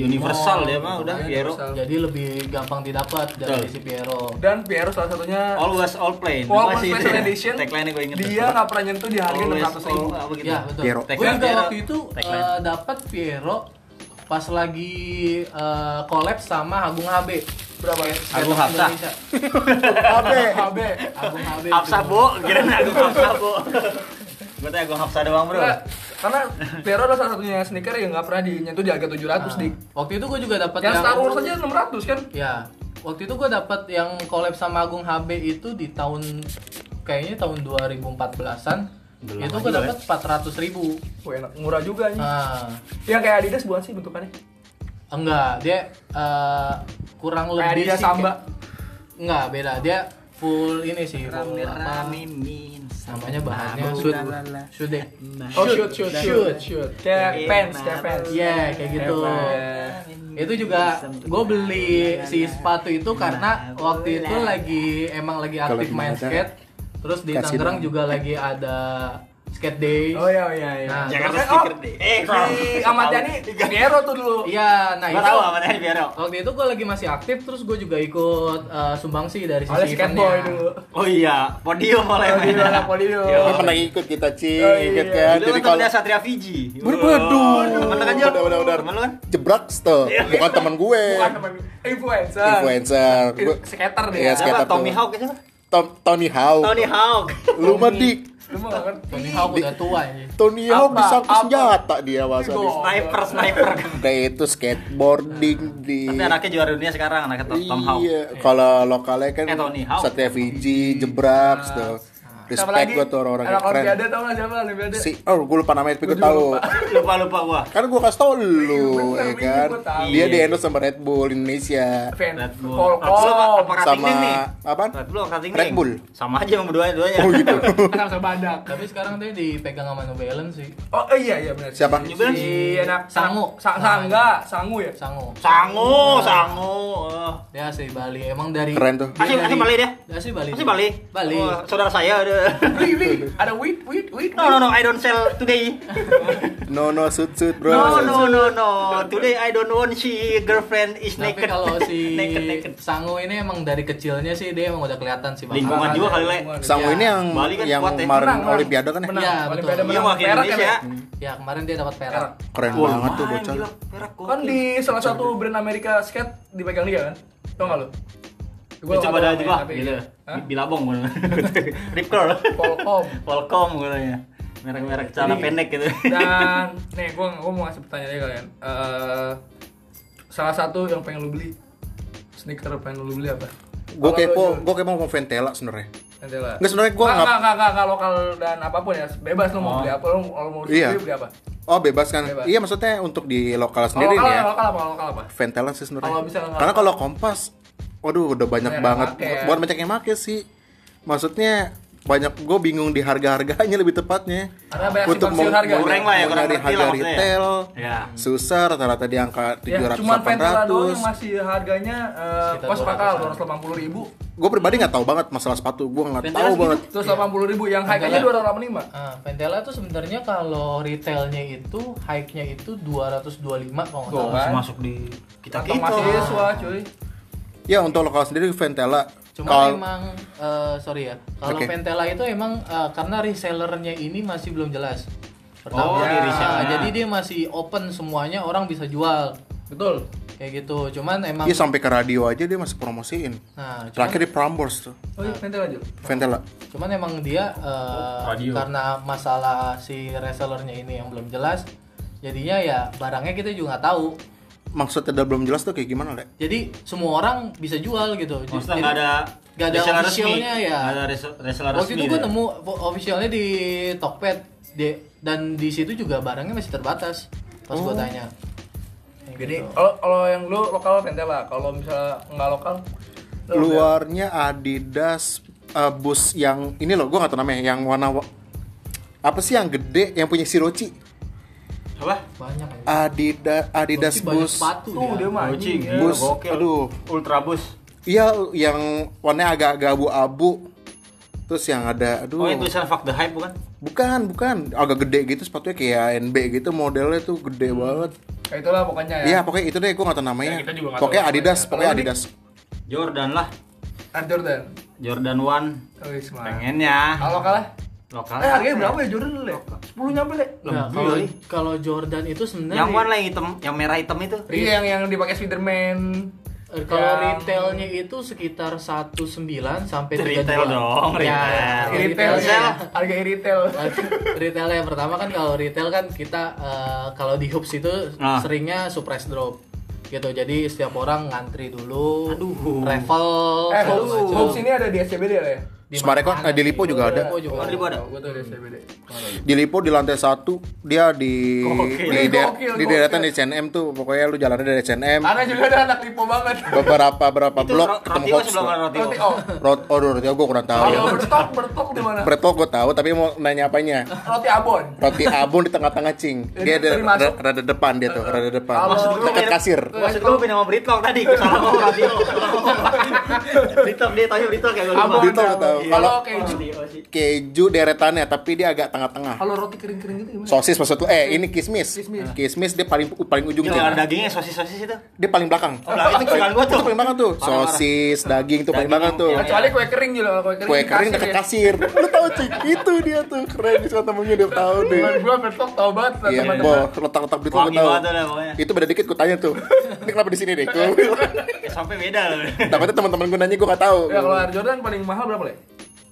S1: Oh,
S3: Universal
S4: mall.
S3: dia mah udah Piero.
S4: Jadi lebih gampang didapat dari
S3: Betul.
S4: sisi Piero.
S1: Dan Piero salah satunya
S3: Always all play.
S1: Walaupun
S3: Oh, Masih
S1: special
S3: itu. ya.
S1: edition,
S3: Tagline-nya gua Oh, inget.
S1: dia nggak pernah nyentuh di harga
S3: Always
S1: enam ratus ribu.
S3: all- apa gitu.
S4: Ya betul.
S2: Piero.
S4: Gue
S3: Tagline
S4: juga
S3: Piero.
S4: waktu itu
S3: Tagline.
S4: eh, dapat Piero pas lagi eh, collab sama Agung HB.
S1: Berapa ya?
S3: Agung
S4: Skate
S3: Hapsah.
S4: Indonesia.
S1: HB, HB.
S4: Agung HB.
S3: Hapsa bo, kira aku Hapsa bo. Gue tanya gue Hapsa doang bro.
S1: Karena- Karena Piero adalah salah satunya sneaker yang nggak pernah nyentuh di harga tujuh ratus dik.
S4: Waktu itu gue juga dapat
S1: Ah. Yang Star Wars aja enam ratus kan?
S4: Ya, waktu itu gue dapat yang collab sama Agung HB itu di tahun kayaknya tahun 2014-an.
S3: Belum lama
S4: itu gue
S3: juga,
S1: ya?
S4: dapat 400 ribu.
S1: Wah enak, murah juga nih.
S4: Nah,
S1: Yang kayak Adidas bukan sih bentukannya?
S4: enggak dia eh, kurang
S1: Kayak
S4: lebih
S1: Adidas
S4: sih
S1: Samba.
S4: kayak- enggak beda dia full ini sih full apa
S3: min.
S4: namanya
S3: Nah,
S4: bahannya shoot shoot deh.
S1: Oh shoot, shoot, shoot,
S4: Shoot.
S1: shoot. Kayak pants, kayak pants.
S4: Iya, kayak gitu.
S1: Hebat.
S4: Itu juga gue beli si sepatu itu karena waktu itu lagi emang lagi
S2: Kalau di
S4: aktif main
S2: Makassar,
S4: skate. Terus di
S2: kasih
S4: Tangerang
S2: dong.
S4: juga lagi ada skate day.
S1: Oh iya, iya, iya.
S4: Nah,
S3: Jakarta
S1: Terus kan,
S3: stiker
S1: oh,
S3: deh. Eh,
S1: Si Ahmad Yani, Piero tuh dulu.
S4: Iya, nah
S3: Gue
S4: itu
S3: tahu apa tadi Vero.
S4: waktu itu gue lagi masih aktif terus gue juga ikut eh, sumbangsi dari
S1: Oleh
S4: sisi
S1: skateboy
S4: eventnya.
S1: dulu.
S3: Oh iya, podium oleh
S1: Oh, Podium, anak podium.
S3: Yo.
S2: Kan pernah ikut kita cing,
S1: iya. Oh, iya.
S2: ingat kan?
S3: Dulu
S2: Jadi
S3: kan
S2: kalau
S3: temennya Satria Fiji.
S2: Waduh.
S3: Temen lu kan Jo?
S2: Bener, bener, bener.
S3: Temen lu kan?
S2: jebrak tuh, bukan teman gue.
S1: Bukan teman influencer.
S2: Influencer. Gua-
S1: Skater deh.
S2: Iya,
S1: ya.
S2: skater.
S3: Siapa?
S2: tuh.
S3: Tommy Hawk siapa?
S2: Tom- Tony Hawk.
S3: Tony Hawk.
S2: Lu mah dik.
S1: Lu mau nggak kan? ngerti.
S4: Tony Hawk udah tua ya.
S2: Tony Hawk
S1: Apa?
S2: disangkut
S1: Apa?
S2: senjata dia masa di
S1: Gol.
S3: Sniper, sniper.
S2: Udah itu skateboarding di
S3: Tapi anaknya juara dunia sekarang, anaknya Tom Tom Hawk.
S2: Iya, kalau lokalnya kan
S3: Eh, Tony Hawk.
S2: Satria Fiji, Jebraks tuh.
S1: Siapa
S2: Respect
S1: lagi?
S2: gua tuh orang-orang yang
S1: Anak
S2: keren.
S1: Olimpiade tau gak siapa Olimpiade?
S2: Si, oh gue lupa namanya, tapi gue tahu.
S3: Lupa-lupa gua.
S2: Kan gue kasih tau lu,
S1: bener,
S2: ya
S1: bener,
S2: kan?
S1: gua tahu.
S2: Dia
S3: Iya.
S2: di endorse sama Red Bull Indonesia.
S1: Fan.
S3: Red Bull.
S1: Kol
S3: Red Bull apa?
S1: kol.
S3: Apa Rating
S2: Sama,
S3: nih?
S2: apaan?
S3: Red Bull, Rating
S2: Red
S3: Ring.
S2: Bull.
S3: Sama aja emang dua-duanya.
S2: Oh gitu.
S1: Sama badak.
S4: Tapi sekarang dia dipegang sama New Balance sih.
S1: Oh iya iya benar.
S2: Siapa?
S1: Si- Si anak
S4: Sangu.
S1: Sa- Sangga, Sangu ya.
S4: Sango.
S3: Sangu, sangu. eh.
S4: Dia asli Bali. Emang dari
S2: Keren tuh.
S4: dia
S3: Asli- asli
S4: dari-
S3: Bali dia?
S4: Asli Bali.
S3: Masih Bali?
S4: Bali.
S3: Oh, saudara saya ada.
S1: Wih, wih, ada wait wait wait.
S3: No, no, no, I don't sell today.
S2: No no suit suit bro.
S3: No, no, no, no. Today I don't want she girlfriend is
S4: Tapi
S3: naked.
S4: kalau si
S3: naked, naked.
S4: Sango ini emang dari kecilnya sih dia emang udah kelihatan sih bakal-
S3: Lingkungan juga kali, Le.
S2: Sangu
S4: Iya.
S2: ini yang
S3: Bali kan
S2: yang
S3: kuat ya.
S2: kemarin
S1: Menang, menang.
S2: Olimpiade kan ya?
S1: Menang.
S4: Iya,
S1: Olimpiade
S4: betul.
S3: Iya,
S1: menang.
S3: wakil
S1: Perak ya,
S3: Indonesia.
S1: Le?
S4: Ya kemarin dia dapat perak.
S2: Keren
S3: Wah,
S2: banget tuh
S3: lumayan,
S2: bocah.
S3: gila. Perak gitu.
S1: Kan
S3: gokil.
S1: di salah satu brand Amerika skate dipegang dia kan? Tau gak lu?
S3: Gua coba ada juga, gitu.
S1: Hah?
S3: Bilabong gue. Rip curl.
S1: Polkom.
S3: Polcom gue tanya. ya. Merek-merek celana
S1: Jadi-
S3: pendek gitu.
S1: Dan nih gua gua mau ngasih pertanyaan aja kalian. Eh salah satu yang pengen lu beli sneaker pengen lu beli apa?
S2: Gue
S1: Kalau lu
S2: kepo,
S1: jual-
S2: gue kepo mau Ventela sebenarnya.
S1: Nutella.
S2: Nggak, sebenarnya gua
S1: nggak
S2: nggak- Oh.
S1: nggak nggak nggak lokal dan apapun ya bebas lo mau beli apa lo lo mau
S2: Iya.
S1: beli apa.
S2: Oh bebas kan?
S1: Bebas.
S2: Iya maksudnya untuk di
S1: Kalau
S2: lokal sendiri
S1: lokal,
S2: nih ya.
S1: lokal apa kalau lokal apa?
S2: Ventelan sih sebenarnya.
S1: Kalau misalnya nggak-
S2: Karena kalau kompas, waduh udah banyak
S1: Banyak
S2: banget.
S1: yang make.
S2: Buat banyak yang make sih. Maksudnya banyak gue bingung di harga-harganya lebih tepatnya.
S1: Karena banyak
S2: Untuk
S1: simpang siur harga.
S3: Goreng lah ya,
S2: mau
S3: kurang
S2: nyari
S3: ngerti
S2: harga
S3: lah maksudnya ya.
S2: retail,
S3: Iya.
S2: susah rata-rata di angka
S1: Ya,
S2: 700
S1: cuman Ventela doang yang
S2: 800.
S1: masih harganya eh,
S4: Sekitar
S1: kos pakal
S4: 200-an.
S1: 280 ribu
S2: Gue pribadi nggak tahu banget masalah sepatu, gue nggak
S4: Ventela
S2: tahu
S4: segitu?
S2: banget.
S3: gitu?
S1: 180 ribu yang high nya 285
S4: Ah, Ventela tuh sebenarnya kalau retailnya itu high-nya itu 225 kalau nggak
S1: Tuh
S4: salah.
S1: kan
S3: masuk di kita
S1: Kantong
S3: kita.
S1: mahasiswa cuy
S2: Ya untuk lokal sendiri Ventela.
S4: Cuma
S2: Kalau-
S4: emang eh, sorry ya, kalau
S2: Oke.
S4: Pentela itu emang eh, karena resellernya ini masih belum jelas.
S3: Oh,
S1: di
S4: ah,
S3: resellernya.
S4: jadi dia masih open semuanya orang bisa jual
S1: betul
S4: kayak gitu. Cuman emang
S2: Iya sampai ke radio aja dia masih promosiin.
S4: nah cuman,
S2: Terakhir di Prambors tuh,
S1: oh iya Ventela aja
S2: Ventela.
S4: cuman emang dia eh,
S5: radio.
S4: karena masalah si resellernya ini yang belum jelas, jadinya ya barangnya kita juga nggak tahu.
S2: Maksudnya udah belum jelas tuh kayak gimana, Le?
S4: Jadi semua orang bisa jual gitu.
S3: Maksudnya
S4: Jadi-
S3: nggak ada
S4: nggak ada
S3: reseller
S4: officialnya ya.
S3: Nggak ada res- reseller resmi.
S4: Waktu itu gue
S3: ya.
S4: nemu vo- officialnya di Tokped di, dan di situ juga barangnya masih terbatas pas gue tanya. Kayak
S1: jadi
S4: gitu.
S1: kalau kalau yang lu lokal Ventela kalau misalnya nggak lokal lu udah-
S2: Luarnya Adidas eh, bus yang ini loh, gua nggak tahu namanya, yang warna wa- apa sih yang gede yang punya Siroci?
S3: Apa?
S4: banyak aja.
S2: Adidas Adidas
S4: Tapi banyak
S2: bus.
S4: sepatu
S1: tuh
S4: dia.
S1: dia mah
S3: Bocing,
S1: anjing, ya.
S2: Bus.
S3: gokil.
S2: Aduh.
S3: Ultra bus.
S2: Iya, yang warnanya agak-agak abu-abu. Terus yang ada aduh.
S3: Oh, itu tulisan fuck the hype bukan?
S2: Bukan, bukan. Agak gede gitu sepatunya kayak NB gitu modelnya tuh gede banget.
S1: Ya, itulah pokoknya ya
S2: Iya, pokoknya itu deh gua nggak tahu namanya.
S1: Ya, kita juga nggak
S2: pokoknya
S1: tahu
S2: Adidas,
S1: namanya.
S2: pokoknya
S1: Kalau ini-
S2: Adidas.
S3: Jordan lah.
S1: Air Jordan
S3: Jordan One.
S1: oh iya semua
S3: Pengennya.
S1: kalau kalah
S3: Lokal.
S1: eh harganya berapa ya Jordan le 10 nyampe le
S4: Nah, kalau kalau Jordan itu sebenarnya
S3: Yang One lah yang hitam, yang merah hitam itu.
S1: iya Er, yang yang dipakai Spiderman
S4: eh, kalau
S1: yang-
S4: retailnya itu sekitar 19 sampai 32.
S3: Retail dong,
S4: Ya,
S3: retail.
S1: Iya, retail
S4: retailnya.
S1: harga retail
S4: retail yang pertama kan kalau retail kan kita eh, kalau di hoops itu
S3: Ah.
S4: seringnya surprise drop gitu jadi setiap orang ngantri dulu
S3: Aduh.
S4: travel
S1: eh
S4: segala
S1: Hobbs
S4: macam.
S1: Hobbs ini ada di SCBD le
S4: Di
S2: Smareko, eh,
S4: mana-mana
S2: di Lipo
S4: gitu.
S2: juga ada.
S4: Lipo juga
S3: Oh, di Lipo ada?
S1: gue tuh di SCBD Kemarin.
S2: di Lipo di lantai satu dia di
S3: Gokil.
S2: di, der-
S1: Gokil,
S2: di
S1: gokil.
S2: deretan di CNM tuh pokoknya lu jalannya dari CNM
S1: Karena juga ada anak lipo banget.
S2: beberapa berapa
S3: Itu
S2: blok
S3: ro-
S2: ketemu
S3: Rotio
S2: hoax
S3: sebelum
S2: tuh.
S3: Rotio.
S1: Nanti oh,
S2: Rot oh roti gue kurang tahu ya.
S1: kalau bertok bertok di mana?
S2: Preto gue tahu tapi mau nanya apanya
S1: Roti abon.
S2: roti abon di tengah-tengah cing dia
S1: Jadi,
S2: ada
S1: dari masuk.
S2: ra- rada depan dia tuh rada depan
S1: Kalau-
S3: Maksud gua
S2: dekat
S3: beda-
S2: kasir
S3: Maksud gua beda sama Britlock tadi, gua salah ngomong radio. Britlock dia tanya Britlock kayak gua lupa.
S1: Abon.
S2: Betul, betul.
S3: Iya,
S1: abon. Kalau gitu, keju,
S3: Radio sih.
S2: keju deretannya tapi dia agak tengah-tengah
S1: kalau roti kering-kering gitu gimana?
S2: sosis maksud lu eh ini kismis
S1: Kismis.
S2: kismis dia paling paling ujung
S3: Gila, ada
S2: Cing.
S3: dagingnya sosis-sosis itu.
S2: dia paling belakang
S3: Oh, belakang itu kesukaan gua
S2: itu
S3: tuh.
S2: paling belakang tuh
S3: Parah, parah.
S2: sosis daging tuh paling
S3: Daging
S2: belakang
S3: yang-
S2: tuh
S3: yang-
S1: Kecuali kue kering gitu loh, kue kering.
S2: kue
S1: di
S2: kering
S1: kasir
S2: dekat
S1: ya.
S2: kasir lu tahu cik itu dia tuh keren suka temennya dia tahu deh
S1: Cuman gua bertok tau banget lah
S2: iya
S1: teman-teman.
S2: boh letak-letak duit lu
S3: Wangi
S2: tahu
S3: banget lah pokoknya.
S2: itu beda dikit gue tanya tuh ini kenapa di sini deh gue
S3: Eh, Sampai beda loh.
S2: takutnya teman-teman gue nanya gue gak tahu Oh,
S1: Ya kalau Air Jordan paling mahal berapa, Le?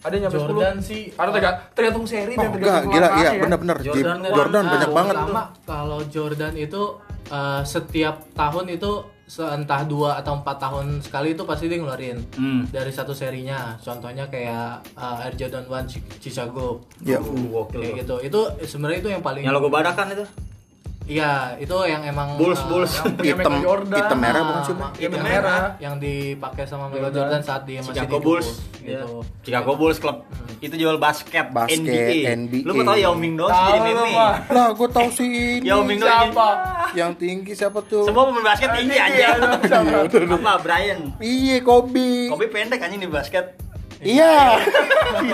S1: Ada nyampe 10.
S4: Jordan sih
S1: Karena terga- tergantung seri dan
S2: Oh, enggak
S1: tergantung
S2: gila
S1: langkahnya
S2: iya
S1: ya.
S2: bener-bener Di- Jordan,
S3: kan
S4: Jordan, ah,
S2: banyak banget
S4: pertama, kalau Jordan itu eh, setiap tahun itu se- entah dua atau empat tahun sekali itu pasti dia ngeluarin
S3: Hmm.
S4: dari satu serinya contohnya kayak eh, Air Jordan One Chi- Chicago
S2: ya
S3: Uh, gokil.
S4: kayak gitu itu sebenarnya itu yang paling
S3: Yang logo badak kan itu.
S4: iya itu yang emang
S3: Bulls,
S4: eh,
S3: Bulls.
S1: Yang punya
S2: hitam
S1: Michael Jordan.
S2: hitam merah bukan sih
S4: Ah,
S2: Bang?
S1: Iya,
S4: yang
S1: bener.
S4: merah yang dipakai sama Michael Jordan saat dia masih
S3: Chicago
S4: di
S3: Bulls.
S4: gitu.
S3: Iya. Chicago Bulls klub.
S1: Hmm.
S3: Itu jual basket,
S2: Basket, NBA.
S3: Lu mau tau Yao Ming doang sih
S1: Tahu
S3: jadi
S1: lu
S3: meme.
S1: mah.
S2: lah gue tahu sih ini
S3: Yao Ming doang.
S1: Siapa?
S2: yang tinggi siapa tuh
S3: Ya, Semua pemain basket tinggi
S1: iya,
S3: aja. Apa Brian?
S2: iya Kobe
S3: Kobe pendek anjing di basket.
S2: iya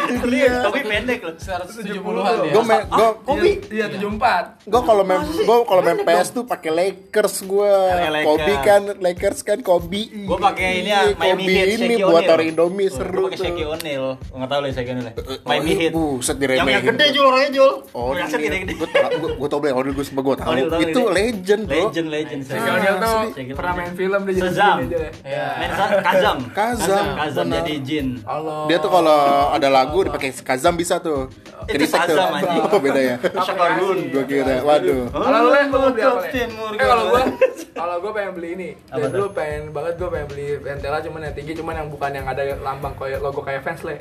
S2: itu dia
S3: Kobe pendek loh.
S4: 170-an ya.
S2: gue me- gue
S1: Kobe. Iya, 74.
S2: Gue kalau main gue kalau main PS tuh pakai Lakers gue.
S3: Pakai Lakers.
S2: Kobe kan Lakers kan Kobe.
S3: Gue pakai ini
S2: Iya,
S3: ya, Miami
S2: Kobe
S3: Heat,
S2: ini
S3: Shaquille
S2: buat
S3: O'Neal.
S2: taruh Indomie
S3: Gua
S2: seru
S3: pakai
S2: tuh.
S3: Shaquille O'Neal, nggak tahu lah Shaquille O'Neal. Miami
S2: Oh,
S3: Heat.
S2: Buset
S3: Yang
S2: diremehin.
S3: yang gede jual orangnya jual.
S2: Oh,
S3: Yang
S2: ini
S3: gede gede.
S2: gue gue tau Black Odell gue semua gue tahu.
S3: O'Neal tahu
S2: Itu
S3: ini.
S2: legend bro.
S3: Legend legend.
S1: Michael
S3: Ah,
S1: Jordan tuh
S3: Shaquille
S1: pernah
S3: O'Neal.
S1: main film dia jadi
S3: Shazam.
S1: begini aja ya.
S4: Iya.
S3: Main Sa- Kazam.
S2: Kazam.
S3: Kazam
S2: benar.
S3: jadi jin.
S1: Allah.
S2: Dia tuh kalau ada lagu dipakai Kazam bisa tuh.
S3: Oh. Itu
S2: Jadi sektor.
S3: Shazam, anjing.
S2: Apa bedanya?
S3: Shakarun.
S2: Gue kira, waduh.
S1: Kalau lu Len, lu mau beli apa Len?
S3: Captain Morgan.
S1: Eh kalau gua, kalau gua pengen beli ini.
S3: Apa
S1: Dari dulu pengen banget gua pengen beli Ventela cuman yang tinggi cuman yang bukan yang ada lambang kayak logo kayak fans le.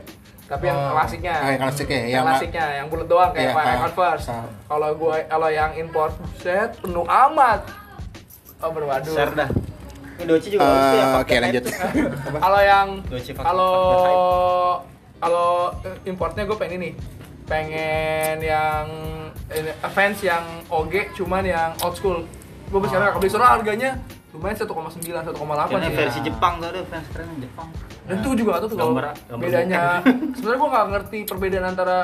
S1: tapi yang klasiknya
S2: Ah, yang klasiknya,
S1: yang,
S2: yang-
S1: klasiknya yang bulat doang kayak
S2: Iya,
S1: Fire
S2: ah,
S1: Converse
S2: ah.
S1: kalau gua kalau yang import set penuh amat oh berwaduh
S3: Share dah. Ini Doci juga bagus tuh, yang
S2: Eh,
S3: pakai
S2: Oke lanjut.
S3: net.
S1: kalau yang
S3: Dolce Fak-
S1: kalau
S3: Fak- Fak-
S1: kalau eh, importnya gue pengen ini pengen yang ini, fans yang OG cuman yang old school gue beli sekarang beli sekarang harganya lumayan 1,9 1,8
S3: Kayaknya
S1: sih
S3: versi Jepang tuh ada fans keren Jepang.
S1: dan itu juga tuh kalau
S3: Gambar- gambar
S1: bedanya sebenarnya gue nggak ngerti perbedaan antara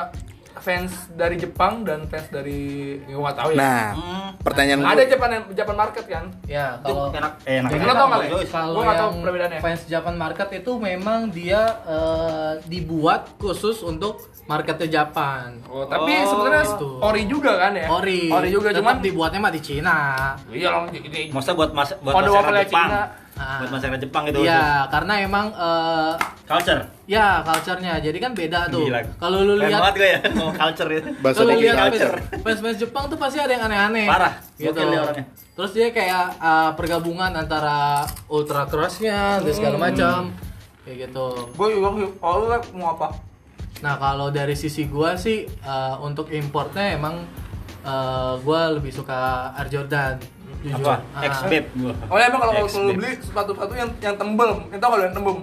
S1: fans dari Jepang dan fans dari gue nggak tahu ya
S2: Nah,
S3: Hmm.
S2: pertanyaan
S1: ada
S2: gue.
S1: Japan Japan market kan
S4: Ya,
S3: Itu
S4: kalau
S3: enak. Eh, enak.
S1: Jadi
S3: enak.
S1: lo tau nggak, Le?
S3: Bagus.
S4: kalau
S1: Gua nggak tahu
S4: yang
S1: perbedaannya.
S4: fans Japan market itu memang dia eh, dibuat khusus untuk marketnya Japan.
S1: oh, tapi
S3: Oh,
S1: sebenarnya
S4: gitu.
S1: ori juga kan ya
S4: Ori,
S1: juga
S4: tetap
S1: cuman
S4: dibuatnya mah di Cina.
S1: iya long ini
S3: Maksudnya buat mas buat
S1: Kode
S3: masyarakat
S1: wafelnya
S3: Jepang.
S1: Cina.
S4: Ah.
S3: Buat masyarakat Jepang gitu.
S4: Iya, karena emang eh,
S3: Culture.
S4: ya culture-nya. Jadi kan beda tuh.
S3: Gila.
S4: Kalau lu
S3: Keren banget
S4: lihat
S3: gue ya. Ngomong culture itu.
S2: Bahasa
S4: kalau
S2: dikit
S4: lihat
S2: culture.
S4: fans- fans-fans Jepang tuh pasti ada yang aneh-aneh.
S3: Parah,
S4: gitu.
S3: gokil dia orangnya.
S4: Terus dia kayak eh, pergabungan antara ultra cross-nya dan
S3: Hmm.
S4: segala macam. Kayak gitu.
S1: gue juga sih oh lu lah, mau apa
S4: Nah kalau dari sisi gua sih eh, untuk importnya emang eh, gua lebih suka Air Jordan. Jujur.
S3: Apa?
S4: Ah.
S3: Ex babe gua.
S1: Oh ya emang kalau kalau
S3: Ex-babe.
S1: lu beli sepatu-sepatu yang yang tembel, yang tau kalau yang tembem.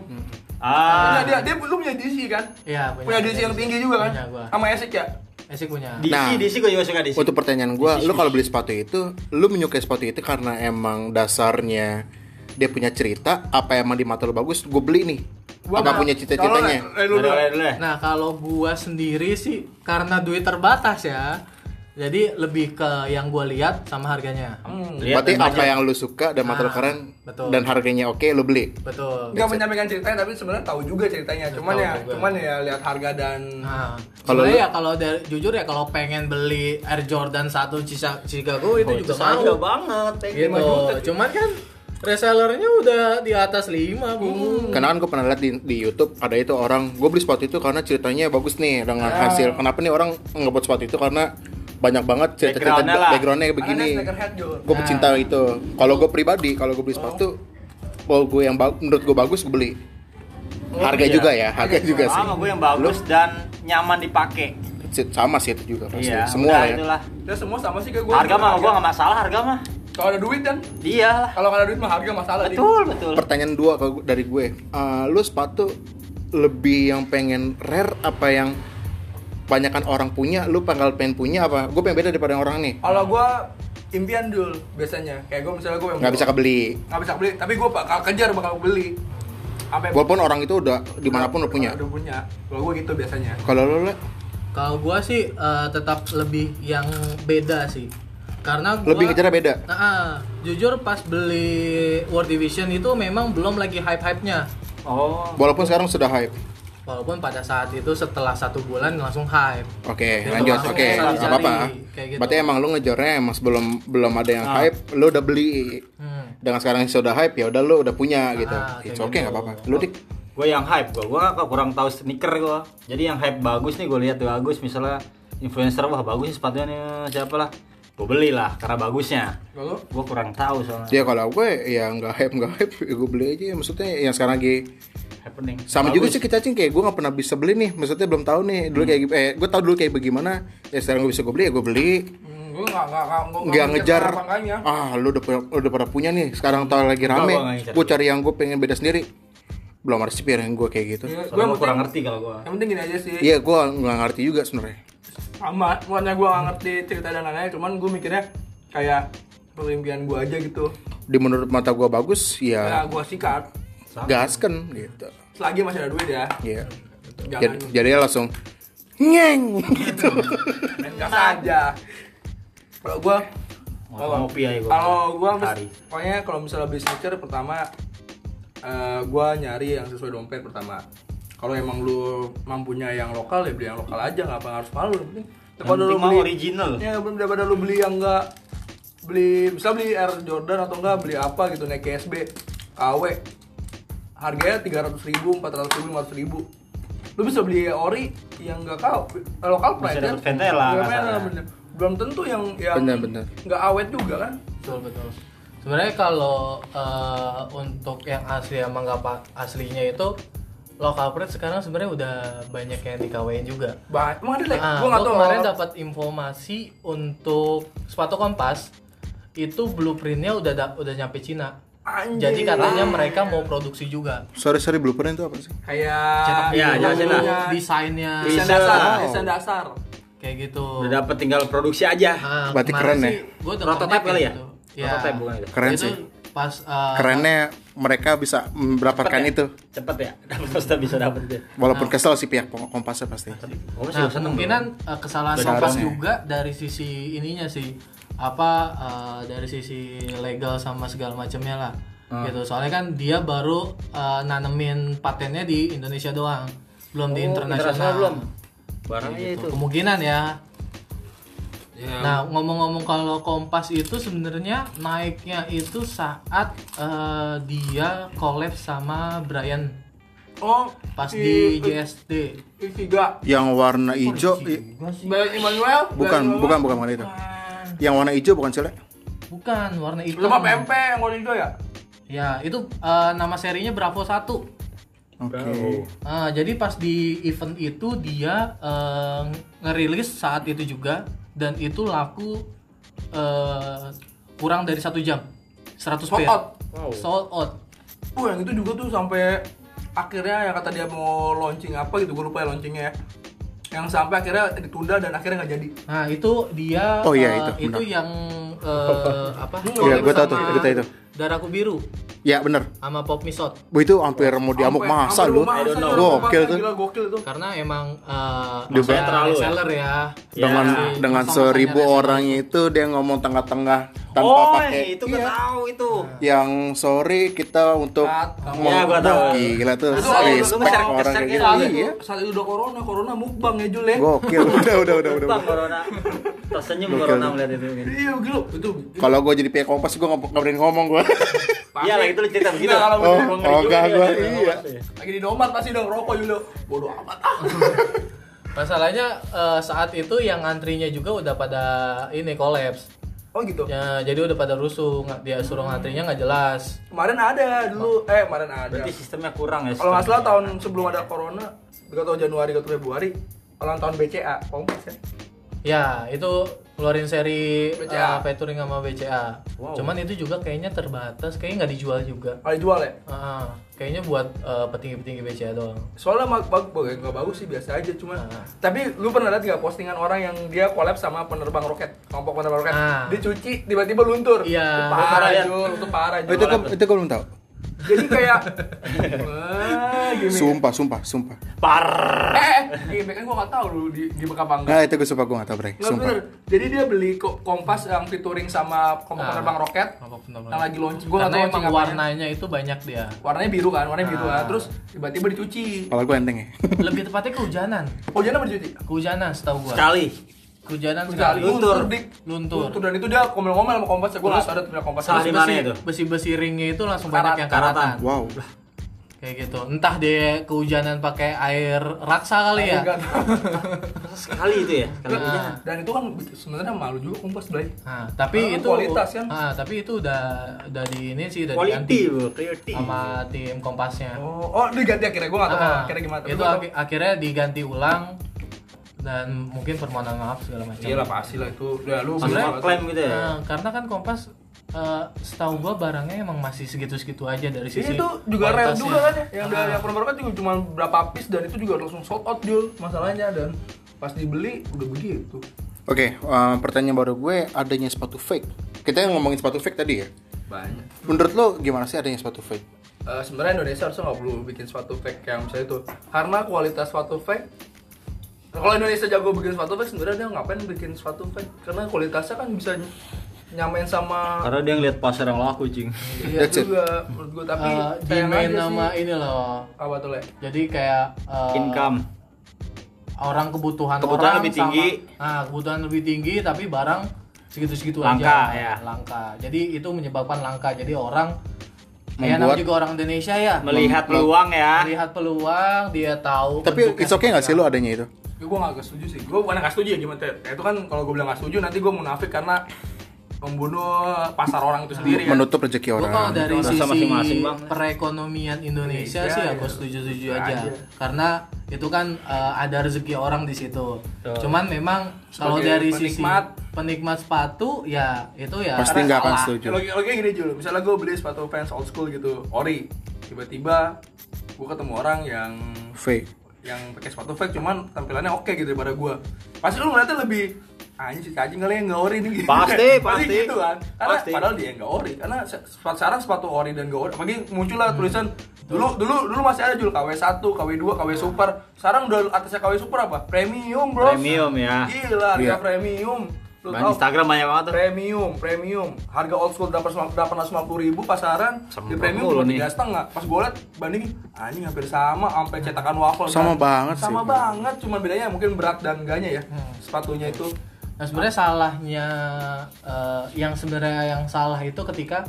S1: Nah,
S3: Ah.
S1: dia dia belum punya DC kan?
S4: Iya
S1: Punya DC yang tinggi juga kan?
S4: Punya gua.
S1: Sama Esik ya?
S4: Esik punya.
S3: DC,
S2: Nah.
S3: DC gue juga suka DC.
S2: Untuk pertanyaan gue, lu kalau beli sepatu itu, lu menyukai sepatu itu karena emang dasarnya dia punya cerita, apa emang di mata lu bagus, gue beli nih. apa
S1: mah-
S2: punya
S1: Kalau lu-
S2: cita-citanya?
S1: eh, lu- lu-
S3: Udah, udah, udah.
S4: Nah kalau gua sendiri sih karena duit terbatas ya. Jadi lebih ke yang gua lihat sama harganya.
S1: Hmm.
S3: Lihat
S2: Berarti
S3: dan
S2: apa
S3: baca.
S2: yang lu suka dan mata lu
S4: Ah,
S2: keren
S4: betul.
S2: dan harganya oke, lu beli.
S4: Betul.
S1: Nggak menyampaikan ceritanya tapi sebenarnya tahu juga ceritanya. Cuman
S4: Tahu
S1: ya,
S4: juga.
S1: cuman ya lihat harga dan
S4: Nah,
S2: Kalau
S4: sebenarnya
S2: lu-
S4: ya kalau dari jujur ya kalau pengen beli Air Jordan 1 Chica- Chicago itu
S3: Oh, itu
S4: juga
S3: sama
S4: mau.
S3: banget. pengen.
S4: Gitu. Cuman kan resellernya udah di atas 5, Bu.
S2: Karena kan gue pernah lihat di, di YouTube ada itu orang gue beli sepatu itu karena ceritanya bagus nih dengan
S3: Ah.
S2: hasil. Kenapa nih orang ngebuat sepatu itu karena banyak banget cerita-cerita
S3: Backgroundnya lah. Ah,
S2: backgroundnya
S1: begini.
S2: begini.
S1: sneakerhead Jul.
S2: Gue
S3: Nah.
S2: pecinta itu. Kalau gue pribadi, kalau gue beli
S3: Oh.
S2: sepatu, kalau gue yang ba- menurut gue bagus gue beli. Harga
S3: iya.
S2: juga ya, harga juga sih.
S3: Sama gue yang bagus dan nyaman dipakai.
S2: Si- Sama sih itu juga pasti.
S3: Iya,
S2: Semua
S3: udah,
S2: ya.
S3: itulah.
S1: Ya semua sama sih kayak gue.
S3: Harga mah gue nggak masalah harga mah.
S1: Kalau ada duit kan?
S3: Iya lah.
S1: Kalau nggak ada duit mah harga masalah. Di.
S3: Betul, betul.
S2: Pertanyaan dua kalau gu- dari gue, Eh, lu sepatu lebih yang pengen rare apa yang banyakan orang punya, lu pangkal pengen punya apa? Gue pengen beda daripada orang nih.
S1: Kalau gue impian dul biasanya. Kayak gue misalnya gue
S2: Nggak bisa kebeli.
S1: nggak bisa beli, tapi gue bakal kejar bakal beli. Sampai
S2: Walaupun orang itu udah dimanapun udah punya.
S1: Udah punya. Kalau gue gitu biasanya.
S2: Kalau lu Le,
S4: Kalau gua sih eh, tetap lebih yang beda sih. Karena gua
S2: lebih kejar beda.
S4: Nah, ah, jujur pas beli World Division itu memang belum lagi hype-hype-nya.
S3: Oh.
S2: Walaupun sekarang sudah hype.
S4: Walaupun pada saat itu setelah satu bulan langsung hype.
S2: Oke,
S4: Itu
S2: lanjut.
S4: langsung
S2: Oke,
S4: bisa
S2: nggak
S4: dicari,
S2: apa-apa.
S4: kayak gitu.
S2: Berarti emang lu ngejarnya emang sebelum belum ada yang
S3: Ah.
S2: hype, lu udah beli.
S4: Hmm.
S2: Dengan sekarang yang sudah hype, ya udah lu udah punya gitu.
S4: Ah, kayak
S2: It's okay,
S4: gitu.
S2: nggak apa-apa. Lu dik.
S3: gue yang hype gue gue kurang tahu sneaker gue jadi yang hype bagus nih gue lihat bagus misalnya influencer wah bagus nih sepatunya nih siapa lah gue beli lah karena bagusnya
S1: Lalu
S3: gue kurang tahu
S4: Ah.
S3: soalnya
S2: Ya kalau gue ya nggak hype nggak hype, ya gue beli aja. Maksudnya yang sekarang lagi
S3: happening
S2: sama juga sih
S3: Bagus.
S2: kita cing kayak gue nggak pernah bisa beli nih. Maksudnya belum tahu nih dulu
S4: Hmm.
S2: kayak gi- eh gue tahu dulu kayak bagaimana. Ya sekarang gue bisa gue beli ya gue beli.
S1: Hmm, gue nggak nggak nggak nggak-
S2: nggak
S1: nggak
S2: ngejar
S1: mikir harganya.
S2: ah lu udah punya, lu udah pada punya nih sekarang tau lagi
S3: Enggak,
S2: rame
S3: gua nggak ngejar.
S2: gue cari yang gue pengen beda sendiri belum ada sih yang gue kayak gitu
S1: Iya,
S3: Soalnya
S1: yang
S3: gue
S1: penting-
S3: kurang ngerti kalau gue
S1: Yang penting gini aja sih.
S2: iya gue nggak ngerti juga sebenarnya
S1: Sama, bukannya gue nggak ngerti cerita dan lain-lain, cuman gue mikirnya kayak perimpian gue aja gitu.
S2: di menurut mata gue bagus
S1: Ya,
S2: ya
S1: gue sikat.
S2: gasken gitu
S1: Selagi masih ada duit ya.
S2: Iya. jadi,
S1: Jangan
S2: jadi langsung nyeng gitu
S1: gas aja. Kalau gue
S3: Mau ngopi aja gua.
S1: Kalau gue
S3: Hari.
S1: pokoknya kalau misalnya beli sneaker pertama eh gue nyari yang sesuai dompet pertama. Kalau emang lu mampunya yang lokal ya beli yang lokal aja nggak apa harus mahal lu. Yang penting-
S3: yang penting mau original
S1: Ya belum daripada lu beli yang enggak beli bisa beli Air Jordan atau enggak beli apa gitu naik KSB KW harganya tiga ratus ribu empat ratus ribu ribu lu bisa beli ori yang enggak kau eh, lokal price
S3: dapet
S1: Iya,
S3: Ventela, nggak
S1: Ventela,
S3: salah.
S1: bener. belum tentu yang yang
S2: Bener, bener.
S1: nggak awet juga kan
S4: Betul betul. Sebenarnya kalau eh, untuk yang asli sama nggak pa- aslinya itu lokal print sekarang sebenarnya udah banyak yang dikawin juga.
S1: Ba- Emang ada lagi?
S4: Ah,
S1: gue nggak
S4: gua
S1: tahu.
S4: kemarin dapat informasi untuk sepatu kompas itu blueprintnya udah da- udah nyampe Cina.
S1: Anjir.
S4: Jadi katanya mereka mau produksi juga.
S2: sorry sorry blueprint itu apa sih
S1: kayak
S3: Iya,
S4: Dulu
S3: jelasin lah.
S4: desainnya
S1: Desain
S3: Bisa.
S1: dasar,
S2: Wow.
S1: desain dasar.
S4: kayak gitu.
S3: Udah dapet tinggal produksi aja.
S4: Ah,
S2: Berarti
S4: kemarin
S2: keren ya?
S4: sih gua dengarnya
S3: Prototipe
S4: kayak
S3: kali ya?
S4: gitu. Ya.
S3: Prototipe bukan itu.
S2: Keren
S4: Itu
S2: sih.
S4: Pas ah,
S2: kerennya mereka bisa mendapatkan
S3: Cepet ya?
S2: itu
S3: Cepet ya. Dapat pasti bisa dapat dia.
S2: walaupun kesel sih pihak peng- kompasnya pasti
S3: Oh,
S4: Nah, kemungkinan eh, kesalahan
S2: Seharusnya.
S4: kompas juga dari sisi ininya sih apa eh, dari sisi legal sama segala macamnya lah
S3: Ah.
S4: gitu soalnya kan dia baru eh, nanemin patennya di Indonesia doang belum di internasional
S3: Oh, belum. Barangnya
S4: Gitu.
S3: itu.
S4: kemungkinan ya
S1: Ya.
S4: nah ngomong-ngomong kalau kompas itu sebenarnya naiknya itu saat eh, dia collab sama Brian
S1: Oh,
S4: pas
S1: si-
S4: di
S3: Iya, eh.
S4: JSD
S1: Ikiga.
S2: yang warna hijau i-
S1: Bel Immanuel.
S2: bukan bukan bukan bukan itu yang warna hijau bukan cile
S4: bukan warna itu
S1: Lu mah PMP yang warna hijau ya?
S4: Ya, itu eh, nama serinya Bravo 1.
S2: oke
S4: Ah, jadi pas di event itu dia eh, ngerilis saat itu juga dan itu laku eh, kurang dari satu jam. 100
S1: Sold
S4: pair.
S1: out.
S3: Wow.
S4: Sold out.
S1: Uh, yang itu juga tuh sampai akhirnya yang kata dia mau launching apa gitu, gue lupa ya launchingnya ya. Yang sampai akhirnya ditunda dan akhirnya nggak jadi.
S4: Nah, itu dia
S2: Oh, iya,
S4: eh,
S2: itu, benar.
S4: yang eh, apa?
S2: Iya, gua tahu tuh,
S4: sama
S2: gua tahu itu.
S4: Daraku biru
S2: ya bener
S4: sama Pop Misot.
S2: Bu, itu hampir mau diamuk
S1: Sampai-
S2: masa
S1: sampai
S2: lu
S1: masa,
S3: I don't know.
S2: Gokil tuh.
S1: Gila gokil tuh.
S4: Karena emang eh
S2: Dia
S4: maksudnya
S3: ber- terlalu ya?
S4: reseller ya.
S2: dengan
S4: Si-
S2: dengan
S4: sama-sama
S2: seribu
S4: reseller.
S2: orang itu dia ngomong tengah-tengah tanpa
S3: oh,
S2: pakai Nah.
S3: itu
S1: Iya.
S3: gua tahu itu.
S2: yang sorry kita untuk
S1: Saat-
S2: mau
S3: Ya, gua tahu.
S2: gila tuh
S1: Itu
S3: Saat-
S1: itu
S2: respect
S1: saat-
S2: orang
S1: saat-
S2: kayak gitu
S1: saat itu-
S2: iya
S1: Saat itu udah corona, corona mukbang ya Jul ya.
S2: gokil udah udah udah udah
S3: Bang Corona. Tersenyum Corona melihat itu.
S1: Iya gila itu.
S2: kalau gue jadi pihak kompas gue nggak nggak berani ngomong gue
S3: Iya lah itu lu cerita begitu.
S1: Nah, kalau
S2: oh
S1: gua-
S2: oh enggak gue iya
S1: lagi di nomad pasti udah ngerokok Julio. Bodoh ya. amat ah.
S4: Masalahnya eh, saat itu yang antrinya juga udah pada ini kolaps.
S1: Oh gitu.
S4: Ya, jadi udah pada rusuh, nggak dia suruh
S3: Hmm.
S4: ngantrinya nggak jelas.
S1: Kemarin ada dulu, eh kemarin ada.
S3: Berarti sistemnya kurang ya.
S1: Kalau nggak salah
S3: sistemnya.
S1: tahun sebelum ada corona, gak tau Januari atau Februari, ulang tahun BCA, kompas ya.
S4: Ya, itu keluarin seri
S1: BCA.
S4: eh, featuring sama BCA.
S3: Wow.
S4: Cuman itu juga kayaknya terbatas, kayaknya nggak dijual juga.
S1: Kalau dijual ya.
S4: Ah, ah. kayaknya buat eh, petinggi-petinggi BCA doang.
S1: Soalnya mag bag bag- nggak bagus sih biasa aja cuma.
S4: Ah.
S1: Tapi lu pernah lihat nggak postingan orang yang dia collab sama penerbang roket, kelompok penerbang roket.
S4: Ah.
S1: Dicuci tiba-tiba luntur.
S4: Iya,
S1: Itu
S4: gua
S1: parah
S3: pernah lihat.
S1: Jul, itu parah
S2: itu
S1: Jul.
S2: gue itu gue belum tahu
S1: Jadi kayak wah, gimmick.
S2: sumpah sumpah sumpah
S3: par.
S1: Eh, eh, gimmick kan gua nggak tahu lu di gimmick apa enggak.
S2: nah itu gue sumpah gue nggak tahu bre
S1: Nggak
S2: sumpah
S1: bener. Jadi dia beli ko- kompas yang featuring sama kelompok
S4: Ah.
S1: penerbang roket
S4: Apa pun
S1: yang lagi launching. Gua nggak tahu
S4: Karena
S1: ya.
S4: emang
S1: launching apanya.
S4: warnanya itu banyak dia.
S1: warnanya biru kan warnanya biru
S4: Ah.
S1: kan terus tiba-tiba dicuci
S2: kalau gue enteng ya
S4: Lebih tepatnya kehujanan.
S1: oh jangan apa dicuci
S4: Kehujanan setahu gua.
S3: Sekali.
S4: Kehujanan
S1: Sekali,
S4: sekali.
S1: luntur
S3: Luntur.
S1: dik
S4: Kan Luntur.
S1: luntur dan itu dia komel-komel sama kompas gue nggak ada punya kompas
S3: Salah
S1: Terus
S3: di mana
S1: besi.
S3: itu?
S4: Besi-besi ringnya itu langsung
S1: Karat-
S4: banyak yang karatan.
S2: wow
S4: Kayak gitu. Entah dia kehujanan pakai air raksa kali ya.
S1: Nggak tahu.
S3: Sekali itu ya. Sekali aja.
S4: Nah,
S1: dan itu kan sebenarnya malu juga kompas Blay
S4: nah, tapi
S1: Ah,
S4: itu
S1: kualitas kan?
S4: Ah, tapi itu udah udah di ini sih udah
S3: Quality,
S4: diganti
S3: bro. Quality.
S4: sama tim Kompasnya.
S1: oh oh diganti akhirnya gue nggak tahu
S4: Ah,
S1: akhirnya gimana tapi
S4: itu
S1: gua tahu.
S4: ak- akhirnya diganti ulang dan mungkin permohonan maaf segala macam.
S1: iyalah pasti lah itu udah lu
S3: Semua
S1: gila.
S3: klaim gitu ya.
S4: Nah, karena kan Kompas eh, setahu gua barangnya emang masih segitu-segitu aja dari
S1: Ini
S4: sisi
S1: itu juga rare
S4: kualitasnya.
S1: juga kan ya. Yang
S4: Ah.
S1: dari yang pernah juga cuma berapa piece dan itu juga langsung sold out Jul masalahnya dan pas dibeli udah begitu.
S2: oke eh, pertanyaan baru gue adanya sepatu fake kita yang ngomongin sepatu fake tadi ya
S1: Banyak.
S2: menurut lo gimana sih adanya sepatu fake
S1: Eh, sebenarnya Indonesia harusnya nggak perlu bikin sepatu fake kayak misalnya itu karena kualitas sepatu fake kalau Indonesia jago bikin sepatu fake sebenarnya dia ngapain bikin sepatu fake karena kualitasnya kan bisa ny- nyamain sama
S3: Karena dia ngeliat pasar yang laku, cing.
S1: dia
S2: That's it.
S1: juga menurut gue tapi
S4: Eh,
S1: sayang
S4: dimain
S1: aja
S4: nama
S1: sih.
S4: ini loh
S1: apa tuh le
S4: jadi kayak
S3: Oh.
S4: eh,
S3: Income.
S4: orang kebutuhan
S3: Kebutuhan
S4: orang
S3: lebih
S4: sama-
S3: tinggi.
S4: nah, kebutuhan lebih tinggi tapi barang segitu-segitu
S3: Langka,
S4: aja
S3: ya.
S4: langka jadi itu menyebabkan langka jadi orang ya
S2: Membuat-
S4: namanya juga orang Indonesia ya
S3: Melihat peluang ya.
S4: melihat peluang dia tahu
S2: tapi
S4: bentuknya
S2: it's okay nggak sih
S4: seperti
S2: lo adanya itu
S1: Nah, gue gak setuju sih gue bukan nggak setuju ya gimana Ter? ya itu kan kalau gue bilang nggak setuju nanti gue munafik karena membunuh pasar orang itu sendiri kan.
S2: menutup rezeki
S4: Gua kalau
S2: orang
S4: dari
S3: Rasa
S4: sisi
S3: masing-masing, Bang.
S4: perekonomian
S1: Indonesia,
S4: Indonesia sih
S1: ya.
S4: aku setuju-setuju aja.
S1: Aja.
S4: Karena itu kan eh, ada rezeki orang di situ. Cuman memang kalau
S1: Sebagai
S4: dari sisi
S1: penikmat.
S4: penikmat sepatu ya itu ya
S2: pasti nggak akan setuju
S1: Nah, Logik logiknya gini Jul, misalnya gue beli sepatu fans old school gitu, ori, tiba-tiba gue ketemu orang yang
S2: fake
S1: yang pakai sepatu fake cuman tampilannya oke gitu daripada gue. Pasti lu ngeliatnya lebih anjing sih anjing kali yang nggak ori nih gitu.
S3: Pasti, pasti.
S1: gitu kan. Karena
S3: Pasti.
S1: padahal dia nggak ori, karena se- sepatu sekarang sepatu ori dan nggak ori. Apalagi muncul lah tulisan dulu
S3: Hmm.
S1: dulu dulu masih ada Jul KW 1, KW 2, KW Super. Sekarang udah atasnya KW Super apa? Premium, bro.
S3: Premium, ya.
S1: Gila, harga
S2: Iya.
S1: premium. Lu
S3: Bahan
S1: tahu
S3: Instagram banyak banget tuh.
S1: premium premium harga old school dapat delapan ribu pasaran di
S3: Semprot
S1: premium
S3: mulu
S1: cuma
S3: nih.
S1: tiga setengah pas gue liat bandingin anjing hampir sama sampai cetakan waffle kan.
S2: Sama banget sih,
S1: sama
S2: Bang.
S1: banget cuman bedanya mungkin berat dan enggaknya ya sepatunya itu
S4: Nah sebenarnya salahnya eh, yang sebenarnya yang salah itu ketika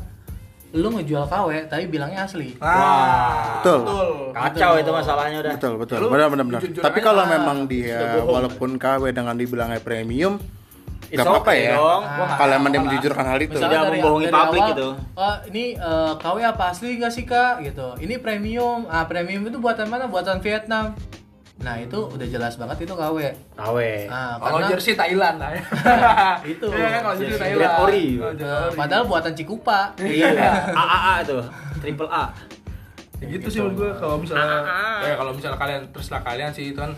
S4: lu ngejual KW tapi bilangnya asli.
S1: nah
S2: Betul.
S3: Kacau itu masalahnya udah.
S2: betul betul
S1: Ya, lu
S2: benar benar benar
S1: jujur-jujur
S2: tapi
S1: aja
S2: kalau
S1: lah.
S2: memang dia
S3: bohong.
S2: walaupun KW dengan dibilangnya premium
S3: It's
S2: nggak apa-apa
S3: okay
S2: ya
S3: dong.
S4: Nah,
S2: kalau emang dia
S3: apa-apa.
S2: menjujurkan hal
S1: gitu.
S2: itu
S3: Misalnya- Tidak membohongi publik gitu.
S4: "Oh, ini eh, KW apa asli gak sih kak? Gitu. Ini premium. Ah premium itu buatan mana? Buatan Vietnam. Nah itu udah jelas banget itu KW.
S3: Tawe.
S4: Nah,
S1: kalau
S4: karena,
S1: jersey Thailand lah ya
S4: Itu.
S1: Iya kan kalau jersey
S3: Jersey
S1: Thailand
S3: Red Ori.
S1: Kalau jersey
S4: eh,
S1: Ori.
S4: padahal buatan Cikupa.
S3: Iya. AAA itu. Triple A.
S1: Ya gitu sih menurut gue kalau misalnya ya kalau misalnya kalian teruslah kalian sih itu kan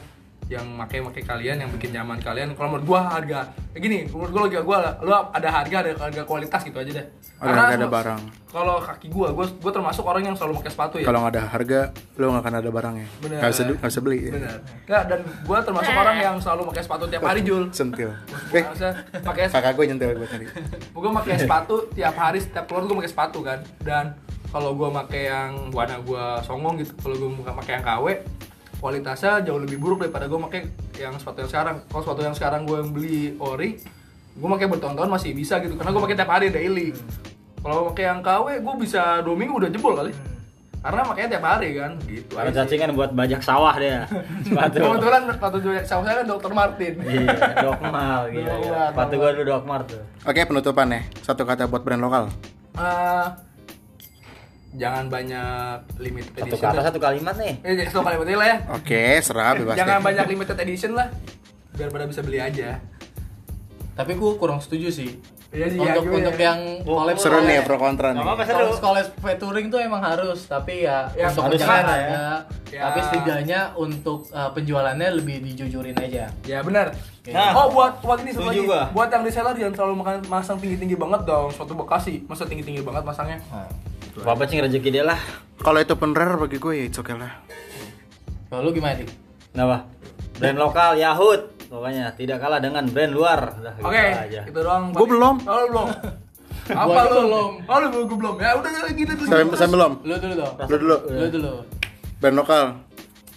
S1: yang makai makai kalian yang bikin nyaman kalian kalau menurut gua harga ya gini menurut gua logika gua lu ada harga ada harga kualitas gitu aja deh
S2: Ada harga, ada barang.
S1: kalau kaki gua gua gua termasuk orang yang selalu pakai sepatu ya
S2: kalau nggak ada harga lo nggak akan ada barangnya
S1: Benar.
S2: nggak bisa du- nggak bisa beli ya.
S1: benar nggak dan gua termasuk orang yang selalu pakai sepatu tiap hari jul
S2: sentil eh
S1: Harusnya pakai
S2: kakak gue nyentil buat tadi
S1: gue pakai sepatu tiap hari setiap keluar gue pakai sepatu kan dan kalau gue pakai yang warna gue songong gitu kalau gue pakai yang KW kualitasnya jauh lebih buruk daripada gue pakai yang sepatu yang sekarang kalau sepatu yang sekarang gue beli ori gue pakai bertahun-tahun masih bisa gitu karena gue pakai tiap hari daily kalau pakai yang KW gue bisa dua minggu udah jebol kali karena makanya tiap hari kan gitu
S3: Kalau
S1: aja sih.
S3: cacingan buat bajak sawah dia. Sepatu.
S1: kebetulan sepatu gue- sama saya kan dokter Martin
S3: gitu. Iya, Dokmar gitu.
S1: Dokmar,
S3: Sepatu gua dulu Dokmar tuh.
S2: oke penutupan nih satu kata buat brand lokal
S1: Eh, jangan banyak limited
S3: Satu
S1: edition
S3: kata
S1: dah.
S3: satu kalimat nih.
S1: Eh, jadi satu kali berarti lah ya.
S2: oke serah bebas
S1: Eh, Jangan
S2: deh.
S1: banyak limited edition lah. Biar pada bisa beli aja.
S4: Tapi gue kurang setuju sih.
S1: Iya sih, ya,
S4: untuk
S1: gua
S4: untuk
S1: ya.
S4: yang collab
S2: Oh, seru nih ya, pro kontra nih
S3: Gak apa-apa seru.
S4: Kalau sekolah featuring tuh emang harus, tapi ya,
S1: Ya,
S4: untuk
S1: harus
S4: menjaga
S3: lah ya.
S4: harga,
S1: Ya.
S4: tapi setidaknya untuk eh, penjualannya lebih dijujurin aja.
S1: Ya benar.
S3: Nah,
S1: oh buat buat ini satu
S3: setuju
S1: lagi.
S3: gua.
S1: Buat yang reseller jangan terlalu makan masang tinggi-tinggi banget dong. Suatu Bekasi, masa tinggi-tinggi banget masangnya.
S3: Nah, Bapak cing rezeki dia lah.
S2: kalau itu penerer bagi gue ya it's okay lah
S4: Kalau lu gimana, Dik?
S3: Kenapa? Brand lokal Yahut. Pokoknya tidak kalah dengan brand luar. Udah, gitu
S1: Oke,
S3: aja.
S1: itu doang.
S2: Gua belum.
S1: Oh, lu belum. Apa
S4: Gua
S1: lu?
S4: belum.
S1: Oh, lu belum, gua belum. Ya udah ya, gitu dulu.
S2: saya, saya belum
S4: Lu dulu dong.
S2: lu dulu
S4: Lu dulu.
S2: brand lokal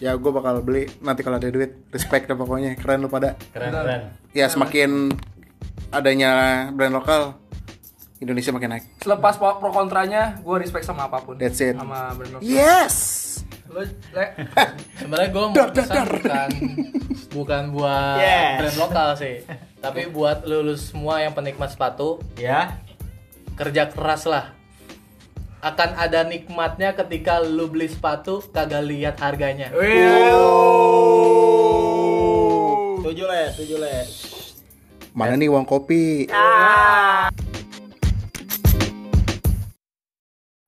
S2: ya gue bakal beli nanti kalau ada duit respect deh pokoknya keren lu pada
S3: Keren keren.
S2: ya semakin adanya brand lokal Indonesia makin naik
S1: Selepas pro pro kontranya, gua respect sama apapun.
S2: That's it. Iya.
S1: Sama brand lokal.
S2: yes
S1: Lu, Le.
S4: Sebenarnya gue mau pesan bukan bukan buat
S3: Yes.
S4: brand lokal sih, tapi buat lulus semua yang penikmat sepatu
S3: Ya.
S4: kerja keras lah. Akan ada nikmatnya ketika lu beli sepatu kagak lihat harganya.
S3: Tujuh le, tujuh le.
S2: mana nih uang kopi
S3: Ah.